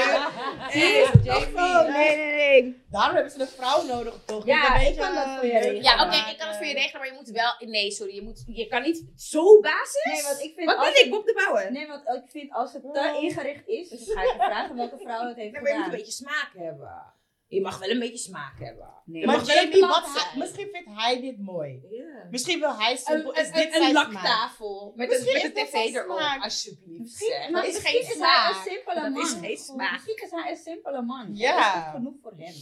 Speaker 2: Oh, nee, nee, nee.
Speaker 3: Daarom hebben ze een vrouw nodig, toch?
Speaker 2: Ja,
Speaker 3: Niet een
Speaker 2: ik
Speaker 3: beetje,
Speaker 2: kan dat voor je
Speaker 3: eh,
Speaker 2: regelen.
Speaker 1: Ja, oké, ik kan het voor je regelen, maar je moet wel. Nee, sorry, je, moet, je kan niet zo basis.
Speaker 2: Nee, want ik vind
Speaker 1: Wat
Speaker 2: als
Speaker 1: ben ik,
Speaker 2: het-
Speaker 1: Bob de Bouwer? Nee,
Speaker 2: Nee, want ik vind als het te ingericht is, dus dan ga ik je vragen welke vrouw het heeft
Speaker 1: maar je moet een
Speaker 2: gedaan.
Speaker 1: beetje smaak hebben. Je mag wel een beetje smaak hebben.
Speaker 2: Nee,
Speaker 3: Maar
Speaker 1: mag wel
Speaker 3: Jamie,
Speaker 1: een
Speaker 3: wat
Speaker 1: plat zijn.
Speaker 3: hij- misschien vindt hij dit mooi.
Speaker 4: Ja.
Speaker 3: Misschien wil hij simpel.
Speaker 1: een,
Speaker 3: is dit
Speaker 1: een
Speaker 3: zijn smaak?
Speaker 1: laktafel met een, met
Speaker 3: Misschien
Speaker 1: een
Speaker 3: is dat
Speaker 1: tv
Speaker 3: wel
Speaker 1: erop,
Speaker 3: smaak.
Speaker 1: alsjeblieft. zeg.
Speaker 2: Misschien,
Speaker 1: Dat
Speaker 2: maar
Speaker 1: is
Speaker 2: misschien
Speaker 1: geen
Speaker 2: is hij een
Speaker 1: smaak.
Speaker 2: simpele
Speaker 1: Dat
Speaker 2: man.
Speaker 1: is geen smaak.
Speaker 2: Misschien is hij een simpele man.
Speaker 3: Ja.
Speaker 2: Dat is genoeg voor hem.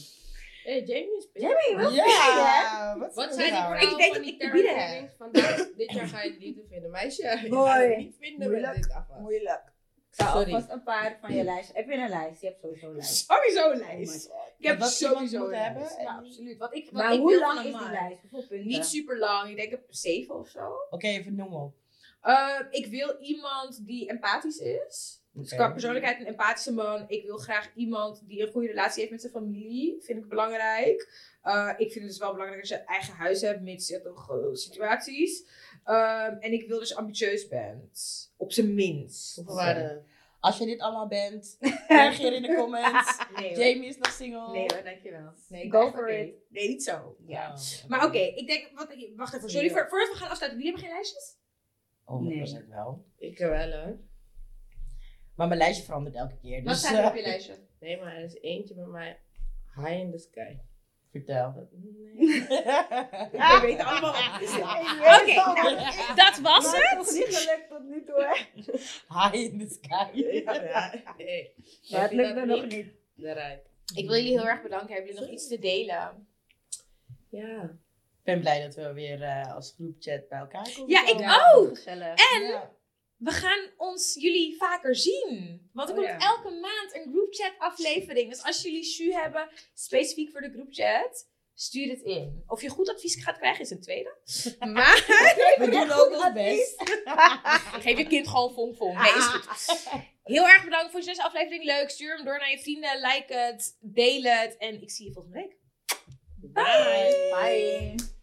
Speaker 4: Hey, Jamie is
Speaker 3: Ja, wat,
Speaker 4: Wat
Speaker 3: is
Speaker 4: zijn die
Speaker 3: nou?
Speaker 4: verhalen
Speaker 1: Ik weet
Speaker 4: van
Speaker 1: dat
Speaker 4: die
Speaker 1: ik te bieden
Speaker 4: terrorleden? Vandaag, dit jaar ga je het niet te vinden, meisje. Je gaat
Speaker 2: Mooi.
Speaker 4: het niet vinden met
Speaker 2: Moeilijk.
Speaker 4: dit afwas.
Speaker 2: Moeilijk. Ik zou
Speaker 4: Sorry.
Speaker 2: alvast een paar van je lijst. Heb je een lijst? Je hebt sowieso een lijst.
Speaker 1: Sowieso een
Speaker 2: Oh my
Speaker 1: lijst.
Speaker 2: god.
Speaker 1: Ik heb
Speaker 3: Wat ze iemand
Speaker 1: sowieso een
Speaker 3: moeten
Speaker 1: lijst.
Speaker 3: hebben.
Speaker 1: Ja, absoluut. Wat ik, wat
Speaker 2: Maar
Speaker 1: ik
Speaker 2: hoe
Speaker 1: wil van
Speaker 2: lang
Speaker 1: een
Speaker 2: is die
Speaker 1: man.
Speaker 2: lijst? Hoeveel punten?
Speaker 1: Niet super lang. Ik denk ik heb zeven of zo.
Speaker 3: Oké, even noem op.
Speaker 1: Eh, ik wil iemand die empathisch is. Dus
Speaker 3: Oké.
Speaker 1: qua persoonlijkheid een empathische man. Ik wil graag iemand die een goede relatie heeft met zijn familie. Vind ik belangrijk. Eh, ik vind het dus wel belangrijk als je eigen huis hebt, mits je toch eh, situaties. Ehm, en ik wil dus ambitieus bent. Op zijn minst.
Speaker 4: Hoeveel waren er?
Speaker 3: Als je dit allemaal bent, reageer in de comments.
Speaker 1: Nee hoor.
Speaker 3: Jamie is nog single.
Speaker 1: Nee hoor, dankjewel. Nee,
Speaker 2: Go
Speaker 1: echt,
Speaker 2: for
Speaker 1: oké.
Speaker 2: it.
Speaker 1: Nee, niet zo. Ja.
Speaker 3: Oh,
Speaker 1: Maar oké, ik denk... Wat, wacht even. Sorry, voor, voordat we gaan afsluiten. Jullie hebben geen lijstjes?
Speaker 3: Oh, nee. wel.
Speaker 4: Ik wel hoor.
Speaker 3: Maar mijn lijstje verandert elke keer.
Speaker 10: Wat
Speaker 3: Dus
Speaker 10: staat er
Speaker 3: eh,
Speaker 10: op je lijstje?
Speaker 4: Nee, maar er is eentje bij mij. High in the sky.
Speaker 3: vertel.
Speaker 4: Nee.
Speaker 1: Ik weet allemaal wat het is.
Speaker 3: Oké,
Speaker 1: dat was het.
Speaker 2: Toch niet gelukt tot nu toe, hè?
Speaker 3: High in the sky.
Speaker 4: Nee.
Speaker 2: Maar
Speaker 4: Heb
Speaker 2: het
Speaker 4: je dat
Speaker 2: lukte nog
Speaker 4: niet?
Speaker 2: niet.
Speaker 4: Daaruit.
Speaker 1: Ik wil jullie heel erg bedanken. Hebben jullie nog iets te delen?
Speaker 4: Ja.
Speaker 3: Ik ben blij dat we weer eh, als groepchat bij elkaar komen.
Speaker 1: Ja, ik ook.
Speaker 2: Gezellig.
Speaker 1: En
Speaker 3: Ja.
Speaker 1: we gaan ons jullie vaker zien. Want er
Speaker 2: Oh,
Speaker 1: komt
Speaker 2: ja.
Speaker 1: elke maand een groupchat aflevering. Dus als jullie Shu hebben, specifiek voor de groupchat, Stuur het in. Of je goed advies gaat krijgen is een tweede. Maar
Speaker 5: We doen ook ons best.
Speaker 1: geef je kind gewoon vonk vonk. Nee, is goed. Heel erg bedankt voor deze aflevering. Leuk. Stuur hem door naar je vrienden. Like het. Deel het. En ik zie je volgende week. Bye.
Speaker 2: Bye.